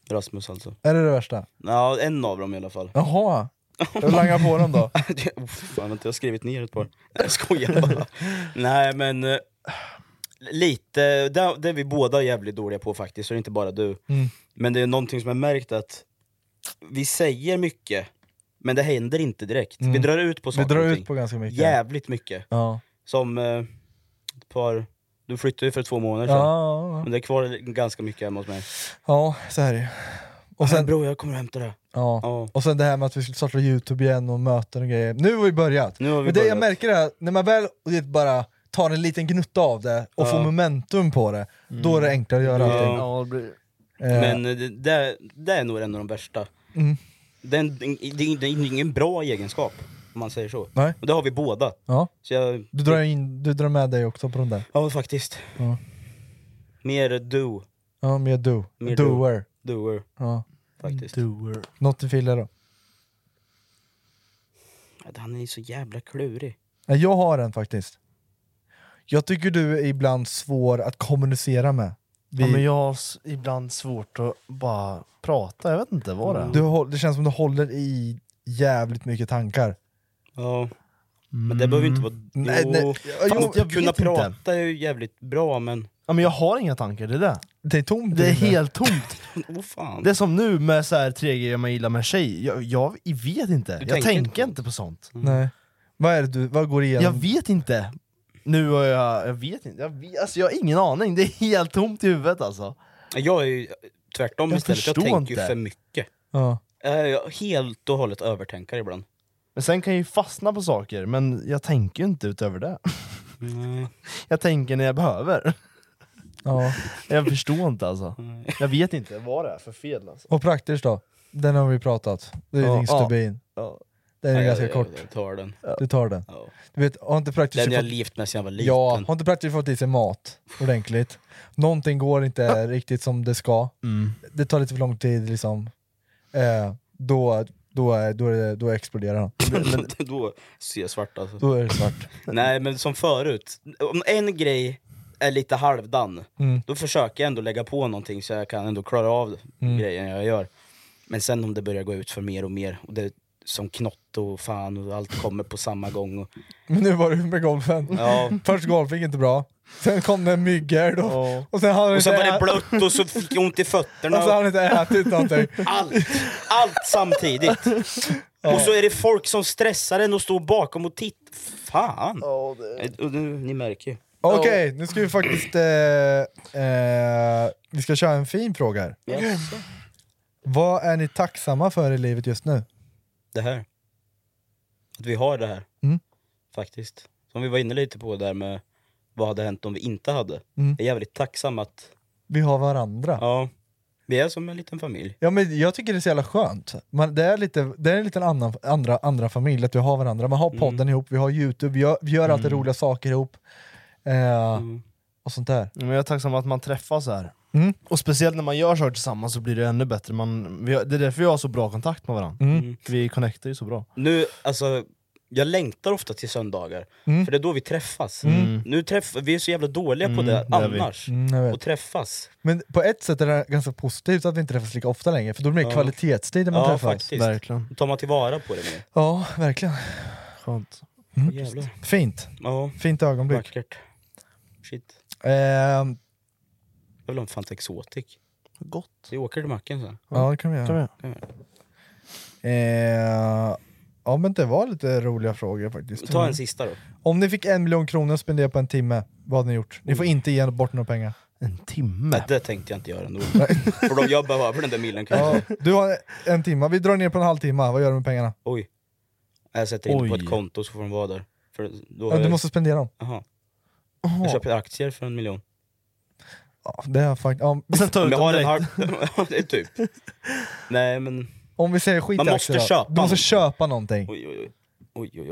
[SPEAKER 5] Rasmus alltså.
[SPEAKER 3] Är det det värsta?
[SPEAKER 5] Ja, en av dem i alla fall.
[SPEAKER 3] Jaha, jag langar på dem då.
[SPEAKER 5] *laughs* Det- oh, Fan, vänta, jag har skrivit ner ett par. Nej, Jag skojar bara. Nej, men eh, lite... Det, det är vi båda jävligt dåliga på faktiskt, så det är inte bara du.
[SPEAKER 3] Mm.
[SPEAKER 5] Men det är någonting som jag märkt att vi säger mycket, men det händer inte direkt. Vi drar ut på
[SPEAKER 3] Mm. Vi
[SPEAKER 5] saker
[SPEAKER 3] drar
[SPEAKER 5] och
[SPEAKER 3] ut
[SPEAKER 5] ting.
[SPEAKER 3] på ganska mycket.
[SPEAKER 5] Jävligt mycket.
[SPEAKER 3] Ja.
[SPEAKER 5] Som eh, ett par... Du flyttade ju för två månader
[SPEAKER 3] Ja,
[SPEAKER 5] sedan.
[SPEAKER 3] ja, ja.
[SPEAKER 5] Men det är kvar ganska mycket hemma hos mig.
[SPEAKER 3] ja, så här är det. Och sen,
[SPEAKER 5] bror jag kommer och hämtar det.
[SPEAKER 3] Ja. Och sen det här med att vi skulle starta youtube igen och möten och grejer. Nu har vi börjat.
[SPEAKER 5] har vi
[SPEAKER 3] Men det jag
[SPEAKER 5] börjat.
[SPEAKER 3] märker är att när man väl och det bara tar en liten gnutta av det och
[SPEAKER 5] Ja.
[SPEAKER 3] får momentum på det, då är det enklare att göra allting.
[SPEAKER 4] Ja, det blir...
[SPEAKER 3] Eh,
[SPEAKER 5] Men det, det, det är nog en av de värsta.
[SPEAKER 3] Mm.
[SPEAKER 5] Det är, en, det, är, det är ingen bra egenskap, om man säger så.
[SPEAKER 3] Nej.
[SPEAKER 5] Och det har vi båda.
[SPEAKER 3] Ja.
[SPEAKER 5] Så jag,
[SPEAKER 3] Du, drar in, du drar med dig också på den där.
[SPEAKER 5] Ja, faktiskt.
[SPEAKER 3] Ja.
[SPEAKER 5] Mer do.
[SPEAKER 3] Ja, mer do.
[SPEAKER 5] Mer do.
[SPEAKER 3] Doer.
[SPEAKER 5] Doer.
[SPEAKER 3] Ja.
[SPEAKER 5] Faktiskt.
[SPEAKER 4] Doer.
[SPEAKER 3] Något du filar då?
[SPEAKER 5] Att Han är så jävla klurig.
[SPEAKER 3] Nej, jag har en faktiskt. Jag tycker du är ibland svår att kommunicera med.
[SPEAKER 4] Ja, men jag har s- ibland svårt att bara prata, jag vet inte vad det är.
[SPEAKER 3] du, håll- det känns som du håller i jävligt mycket tankar.
[SPEAKER 5] Ja. Men det behöver ju inte vara...
[SPEAKER 3] Mm. Nej,
[SPEAKER 5] jo.
[SPEAKER 3] nej.
[SPEAKER 5] Fast
[SPEAKER 3] Jo, jag
[SPEAKER 5] kunna
[SPEAKER 3] vet inte.
[SPEAKER 5] prata är ju jävligt bra, men...
[SPEAKER 4] Ja, men jag har inga tankar, det är det.
[SPEAKER 3] Det är tomt.
[SPEAKER 4] Det är
[SPEAKER 3] inne.
[SPEAKER 4] helt tomt.
[SPEAKER 5] Åh fan.
[SPEAKER 4] Det är som nu med så här 3G man gillar med tjej, jag, jag vet inte. Jag tänker,
[SPEAKER 5] tänker inte.
[SPEAKER 4] inte på sånt.
[SPEAKER 3] Nej. Vad är det du, vad går igenom?
[SPEAKER 4] Jag vet inte. Nu har jag, jag vet inte, jag, vet, alltså, jag har ingen aning. Det är helt tomt i huvudet alltså.
[SPEAKER 5] Jag är ju tvärtom
[SPEAKER 4] Jag
[SPEAKER 5] istället. Jag
[SPEAKER 4] förstår
[SPEAKER 5] tänker ju
[SPEAKER 4] inte.
[SPEAKER 5] för mycket.
[SPEAKER 3] Ja.
[SPEAKER 5] Eh, Jag är helt och hållet övertänkare ibland.
[SPEAKER 4] Men sen kan jag ju fastna på saker, men jag tänker ju inte utöver det.
[SPEAKER 5] Nej.
[SPEAKER 4] *laughs* Jag tänker när jag behöver.
[SPEAKER 3] Ja.
[SPEAKER 4] Jag förstår inte alltså. Jag vet inte vad det är för fel alltså.
[SPEAKER 3] Och praktiskt då? Den har vi pratat. Det är
[SPEAKER 4] Ja,
[SPEAKER 3] din
[SPEAKER 4] ja.
[SPEAKER 3] stubin.
[SPEAKER 4] Ja.
[SPEAKER 3] Den är
[SPEAKER 5] Ja,
[SPEAKER 3] ganska
[SPEAKER 5] jag,
[SPEAKER 3] kort.
[SPEAKER 5] Jag, jag tar den.
[SPEAKER 3] Du tar den.
[SPEAKER 5] Ja.
[SPEAKER 3] Du vet, har inte praktiskt
[SPEAKER 5] Den jag
[SPEAKER 3] fått-
[SPEAKER 5] levt med sen jag var liten.
[SPEAKER 3] Ja, har inte praktiskt fått i sig mat ordentligt. Någonting
[SPEAKER 5] *laughs*
[SPEAKER 3] går inte riktigt som det ska.
[SPEAKER 5] Mm.
[SPEAKER 3] Det tar lite för lång tid liksom. Eh, då, då, är- då, är det- då exploderar han.
[SPEAKER 5] *laughs* då ser jag svart alltså.
[SPEAKER 3] Då är det svart.
[SPEAKER 5] Nej men som förut, om en grej är lite halvdan,
[SPEAKER 3] Mm.
[SPEAKER 5] då försöker jag ändå lägga på någonting så jag kan ändå klara av
[SPEAKER 3] Mm.
[SPEAKER 5] grejen jag gör. Men sen om det börjar gå ut för mer och mer, och det är som knott och fan och allt kommer på samma gång. Och,
[SPEAKER 3] Men nu var det med golfen.
[SPEAKER 5] Ja.
[SPEAKER 3] Först golf gick inte bra. Sen kom det myggor då. Och sen hade han
[SPEAKER 5] och sen
[SPEAKER 3] inte
[SPEAKER 5] var det
[SPEAKER 3] ä-
[SPEAKER 5] blött och så fick jag ont i fötterna.
[SPEAKER 3] *laughs* och sen hade han inte
[SPEAKER 5] *laughs*
[SPEAKER 3] ätit någonting.
[SPEAKER 5] Allt! Allt samtidigt. Och så är det folk som stressar en och står bakom och tittar. Fan! Eh, Och nu, ni märker ju.
[SPEAKER 3] Okej, nu ska vi faktiskt... Eh, eh, vi ska köra en fin fråga här. Vad är ni tacksamma för i livet just nu?
[SPEAKER 5] det här. Att vi har det här.
[SPEAKER 3] Mm.
[SPEAKER 5] Faktiskt. Som vi var inne lite på där med vad hade hänt om vi inte hade.
[SPEAKER 3] Mm.
[SPEAKER 5] Jag är jävligt tacksam att
[SPEAKER 3] Vi har varandra.
[SPEAKER 5] ja, vi är som en liten familj.
[SPEAKER 3] Ja, men jag tycker det är så jävla skönt. Man, det, är lite, det är en liten annan, andra, andra familj, att vi har varandra. Man har
[SPEAKER 5] Mm.
[SPEAKER 3] podden ihop, vi har Youtube, vi gör, vi gör alltid roliga saker ihop. Eh,
[SPEAKER 5] Mm.
[SPEAKER 3] Och sånt där.
[SPEAKER 4] Men jag är tacksam att man träffas här.
[SPEAKER 3] Mm.
[SPEAKER 4] Och speciellt när man gör saker tillsammans så blir det ännu bättre. Man, vi har, det är därför vi har så bra kontakt med varandra.
[SPEAKER 3] Mm.
[SPEAKER 4] Vi connectar ju så bra.
[SPEAKER 5] Nu, alltså, jag längtar ofta till söndagar,
[SPEAKER 3] Mm.
[SPEAKER 5] för det är då vi träffas.
[SPEAKER 4] Mm.
[SPEAKER 5] Nu träff, vi är så jävla dåliga på
[SPEAKER 4] Mm,
[SPEAKER 5] det
[SPEAKER 4] det är vi.
[SPEAKER 5] annars.
[SPEAKER 3] Mm, jag vet.
[SPEAKER 5] Och träffas.
[SPEAKER 3] Men på ett sätt är det ganska positivt att vi inte träffas lika ofta längre, för då blir det
[SPEAKER 5] Ja.
[SPEAKER 3] kvalitetstid när man
[SPEAKER 5] Ja,
[SPEAKER 3] träffas.
[SPEAKER 5] faktiskt.
[SPEAKER 4] Verkligen.
[SPEAKER 5] Då tar man tillvara på det mer.
[SPEAKER 3] Ja, verkligen.
[SPEAKER 4] Skönt.
[SPEAKER 5] Jävlar.
[SPEAKER 3] Fint.
[SPEAKER 5] Ja,
[SPEAKER 3] Fint ögonblick.
[SPEAKER 5] vackert. Shit.
[SPEAKER 3] Ehm,
[SPEAKER 5] Jag vill ha en Fanta Exotic.
[SPEAKER 4] Gott.
[SPEAKER 5] Vi åker till macken sen.
[SPEAKER 3] ja, det kan vi
[SPEAKER 4] Kan vi
[SPEAKER 3] göra.
[SPEAKER 4] göra.
[SPEAKER 3] Ehm, ja, men det var lite roliga frågor faktiskt.
[SPEAKER 5] Ta en sista då.
[SPEAKER 3] Om ni fick en miljon kronor att spendera på en timme, vad hade ni gjort? Ni får inte ge bort några pengar.
[SPEAKER 4] En
[SPEAKER 5] Nej,
[SPEAKER 4] timme.
[SPEAKER 5] det tänkte jag inte göra ändå. För då jag behöver den där milen kanske.
[SPEAKER 3] Ja, du har en timme, vi drar ner på en halvtimme, vad gör du med pengarna?
[SPEAKER 5] Oj. Jag sätter in det på
[SPEAKER 4] Oj.
[SPEAKER 5] ett konto så får de vara där. För då
[SPEAKER 3] Ja,
[SPEAKER 5] har
[SPEAKER 3] du
[SPEAKER 5] jag-
[SPEAKER 3] måste spendera dem.
[SPEAKER 5] Jaha. Jag
[SPEAKER 4] Jaha.
[SPEAKER 5] köper aktier för en miljon.
[SPEAKER 3] Ja, det är fakt- ja,
[SPEAKER 4] Och sen ta
[SPEAKER 5] Om
[SPEAKER 4] ut
[SPEAKER 5] jag
[SPEAKER 4] dem
[SPEAKER 5] har en
[SPEAKER 4] direkt.
[SPEAKER 5] halv... *laughs* Ja, det är typ. Nej men...
[SPEAKER 3] om vi säger skit
[SPEAKER 5] Man
[SPEAKER 3] i
[SPEAKER 5] måste
[SPEAKER 3] aktier då.
[SPEAKER 5] köpa
[SPEAKER 3] Du måste
[SPEAKER 5] någonting.
[SPEAKER 3] köpa någonting.
[SPEAKER 5] Oj, oj, oj. oj, oj, oj.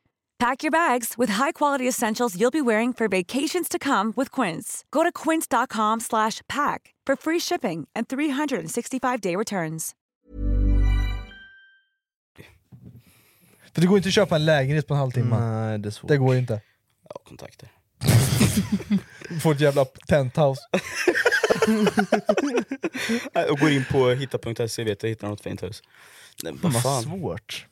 [SPEAKER 11] Pack your bags with high-quality essentials you'll be wearing for vacations to come with Quince. Go to quince.com slash pack for free shipping and 365-day returns.
[SPEAKER 3] För det går inte att köpa en lägenhet på en halvtimme.
[SPEAKER 4] Nej, det är svårt.
[SPEAKER 3] Det går inte.
[SPEAKER 5] Ja, kontakter.
[SPEAKER 3] Du får ett jävla penthouse.
[SPEAKER 5] Nej, Och går in på hitta.se, vet jag hittar något fint hus. Nej, men vad
[SPEAKER 4] Vad
[SPEAKER 5] fan.
[SPEAKER 4] svårt.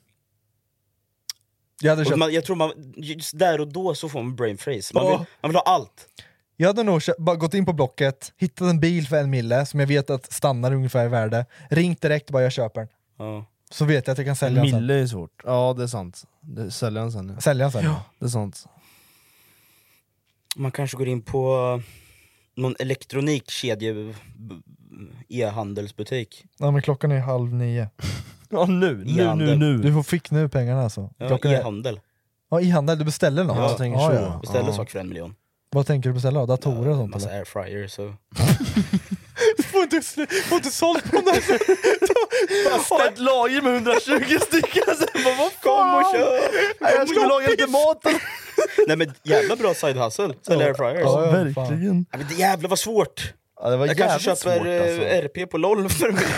[SPEAKER 3] Jag hade
[SPEAKER 5] Och
[SPEAKER 3] köpt-
[SPEAKER 5] man, jag tror man, just där och då så får man brain freeze. Man vill,
[SPEAKER 3] Ja.
[SPEAKER 5] man vill ha allt.
[SPEAKER 3] Jag hade nog kö- bara gått in på Blocket, hittat en bil för en mille som jag vet att stannar ungefär i värde, ringt direkt och bara jag köper den. Så vet jag att jag kan sälja
[SPEAKER 4] En
[SPEAKER 3] den sen.
[SPEAKER 4] mille är svårt. Ja, det är sant. Det- Sälja den sen. nu.
[SPEAKER 3] Sälja den sen, ja.
[SPEAKER 4] Ja, det är sant.
[SPEAKER 5] Man kanske går in på någon elektronikkedje, b- e-handelsbutik.
[SPEAKER 3] Ja men klockan är halv nio.
[SPEAKER 4] Ja nu,
[SPEAKER 5] nu, nu, nu.
[SPEAKER 3] Du får fick nu pengarna alltså.
[SPEAKER 5] Ja,
[SPEAKER 3] Klockan är-
[SPEAKER 5] E-handel.
[SPEAKER 3] Ja, e-handel, du beställer något?
[SPEAKER 5] Ja,
[SPEAKER 3] Ja,
[SPEAKER 5] ja.
[SPEAKER 3] ja.
[SPEAKER 5] Beställer
[SPEAKER 3] Ja.
[SPEAKER 5] saker för en miljon.
[SPEAKER 3] Vad tänker du beställa? Datorer och sånt
[SPEAKER 5] Massa
[SPEAKER 3] eller?
[SPEAKER 5] airfryer så...
[SPEAKER 3] Får inte, får inte sålt på den
[SPEAKER 4] Ha ett lager med 120 stycken, sen bara vad fan!
[SPEAKER 5] och kör!
[SPEAKER 4] Nej, Jag ska laga lite mat!
[SPEAKER 5] *laughs* Nej men jävla bra side hustle, sälja
[SPEAKER 4] Ja.
[SPEAKER 5] airfryers.
[SPEAKER 4] Ja, ja, verkligen.
[SPEAKER 5] Ja, men det jävlar vad svårt!
[SPEAKER 4] det var
[SPEAKER 5] jag kanske
[SPEAKER 4] jävligt
[SPEAKER 5] köper
[SPEAKER 4] svårt,
[SPEAKER 5] eh,
[SPEAKER 4] alltså.
[SPEAKER 5] RP på LOL för *laughs* en miljon.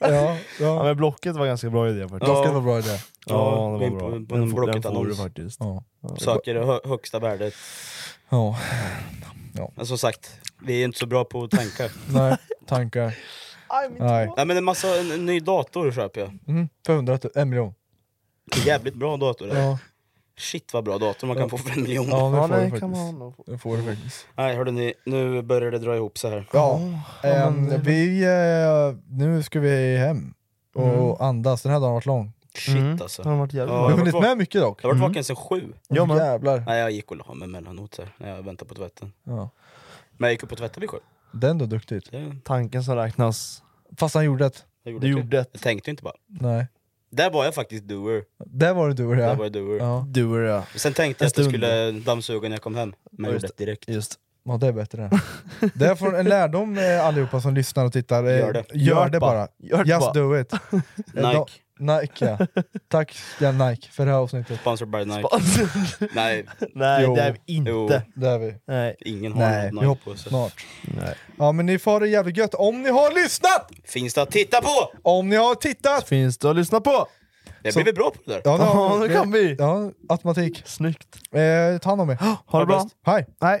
[SPEAKER 3] Ja,
[SPEAKER 4] ja. men Blocket var ganska bra idé faktiskt.
[SPEAKER 3] Blocket var bra idé.
[SPEAKER 4] Ja,
[SPEAKER 5] gå
[SPEAKER 4] det
[SPEAKER 5] in
[SPEAKER 4] var
[SPEAKER 5] på-
[SPEAKER 4] bra.
[SPEAKER 5] På
[SPEAKER 4] Den
[SPEAKER 5] en
[SPEAKER 4] får- den får du
[SPEAKER 5] Blocket-annons.
[SPEAKER 4] faktiskt.
[SPEAKER 5] Söker det hö- högsta värdet.
[SPEAKER 3] Ja.
[SPEAKER 5] Men som sagt, vi är inte så bra på tankar.
[SPEAKER 3] Nej, tankar. Nej.
[SPEAKER 5] Nej men en massa, en, en ny dator köper jag.
[SPEAKER 3] Mm, för 100 000, en miljon.
[SPEAKER 5] Jävligt bra dator. det.
[SPEAKER 3] Ja.
[SPEAKER 5] Shit vad bra dator man kan
[SPEAKER 3] Ja.
[SPEAKER 5] få för en miljon.
[SPEAKER 3] Ja, det Ja, får nej, du faktiskt. kan man
[SPEAKER 4] alltså.
[SPEAKER 3] nog få. Det får du faktiskt.
[SPEAKER 5] Nej hörde ni, nu börjar det dra ihop så här.
[SPEAKER 3] Ja, ehm, vi, eh, nu ska vi hem och andas. Den här dagen har varit lång.
[SPEAKER 5] Shit alltså.
[SPEAKER 4] Den har varit jävligt
[SPEAKER 5] Ja, jag
[SPEAKER 4] bra.
[SPEAKER 3] Vi har hunnit
[SPEAKER 5] varit vak-
[SPEAKER 3] med mycket dock.
[SPEAKER 5] Jag har varit
[SPEAKER 3] Mm.
[SPEAKER 5] vaken sen sju.
[SPEAKER 3] Ja, men. Jävlar.
[SPEAKER 5] Nej jag gick och la mig emellanåt så här, när jag väntade på tvätten.
[SPEAKER 3] Ja.
[SPEAKER 5] Men jag gick upp på tvätten vid sju.
[SPEAKER 3] Det är ändå duktigt.
[SPEAKER 4] Tanken som räknas.
[SPEAKER 3] Fast han gjorde det.
[SPEAKER 5] Jag
[SPEAKER 4] Du
[SPEAKER 5] det.
[SPEAKER 4] gjorde det.
[SPEAKER 5] Jag tänkte inte bara.
[SPEAKER 3] Nej.
[SPEAKER 5] Där var jag faktiskt doer.
[SPEAKER 3] Där var det du och
[SPEAKER 5] Där
[SPEAKER 3] jag.
[SPEAKER 5] var jag doer.
[SPEAKER 3] Ja.
[SPEAKER 4] Doer ja.
[SPEAKER 5] Sen tänkte
[SPEAKER 4] En
[SPEAKER 5] jag att jag
[SPEAKER 4] stund.
[SPEAKER 5] skulle dammsuga när jag kom hem. Men jag
[SPEAKER 4] Just
[SPEAKER 5] gjorde det direkt.
[SPEAKER 4] Just.
[SPEAKER 3] Ja, det är bättre. Det är från en lärdom eh, allihopa som lyssnar och tittar. Eh,
[SPEAKER 5] Gör det.
[SPEAKER 3] Gör det bara.
[SPEAKER 5] Gör det
[SPEAKER 3] Just
[SPEAKER 5] bara.
[SPEAKER 3] do it. Eh,
[SPEAKER 5] Nike.
[SPEAKER 3] de- Nike ja. Tack ja, Nike för det här avsnittet.
[SPEAKER 5] Sponsored by Nike.
[SPEAKER 4] Sponsor-
[SPEAKER 5] Nej.
[SPEAKER 4] *laughs* Nej,
[SPEAKER 3] Jo.
[SPEAKER 4] det är vi inte.
[SPEAKER 5] Jo.
[SPEAKER 3] Det är vi.
[SPEAKER 4] Nej.
[SPEAKER 5] Ingen har
[SPEAKER 3] *laughs* Nej,
[SPEAKER 5] något
[SPEAKER 3] vi
[SPEAKER 5] Nike på
[SPEAKER 3] hoppas
[SPEAKER 5] sig.
[SPEAKER 3] snart. Ja men ni får ha det jävligt gött om ni har lyssnat!
[SPEAKER 5] Finns det att titta på!
[SPEAKER 3] Om ni har tittat!
[SPEAKER 4] Finns det att lyssna på!
[SPEAKER 5] Det
[SPEAKER 3] Så-
[SPEAKER 5] blir vi bra på det där.
[SPEAKER 3] Ja,
[SPEAKER 4] Ja, det kan vi.
[SPEAKER 3] Ja, automatik.
[SPEAKER 4] Snyggt.
[SPEAKER 3] Eh, ta hand om er.
[SPEAKER 4] Ha det bra.
[SPEAKER 3] Hej!
[SPEAKER 4] Hej.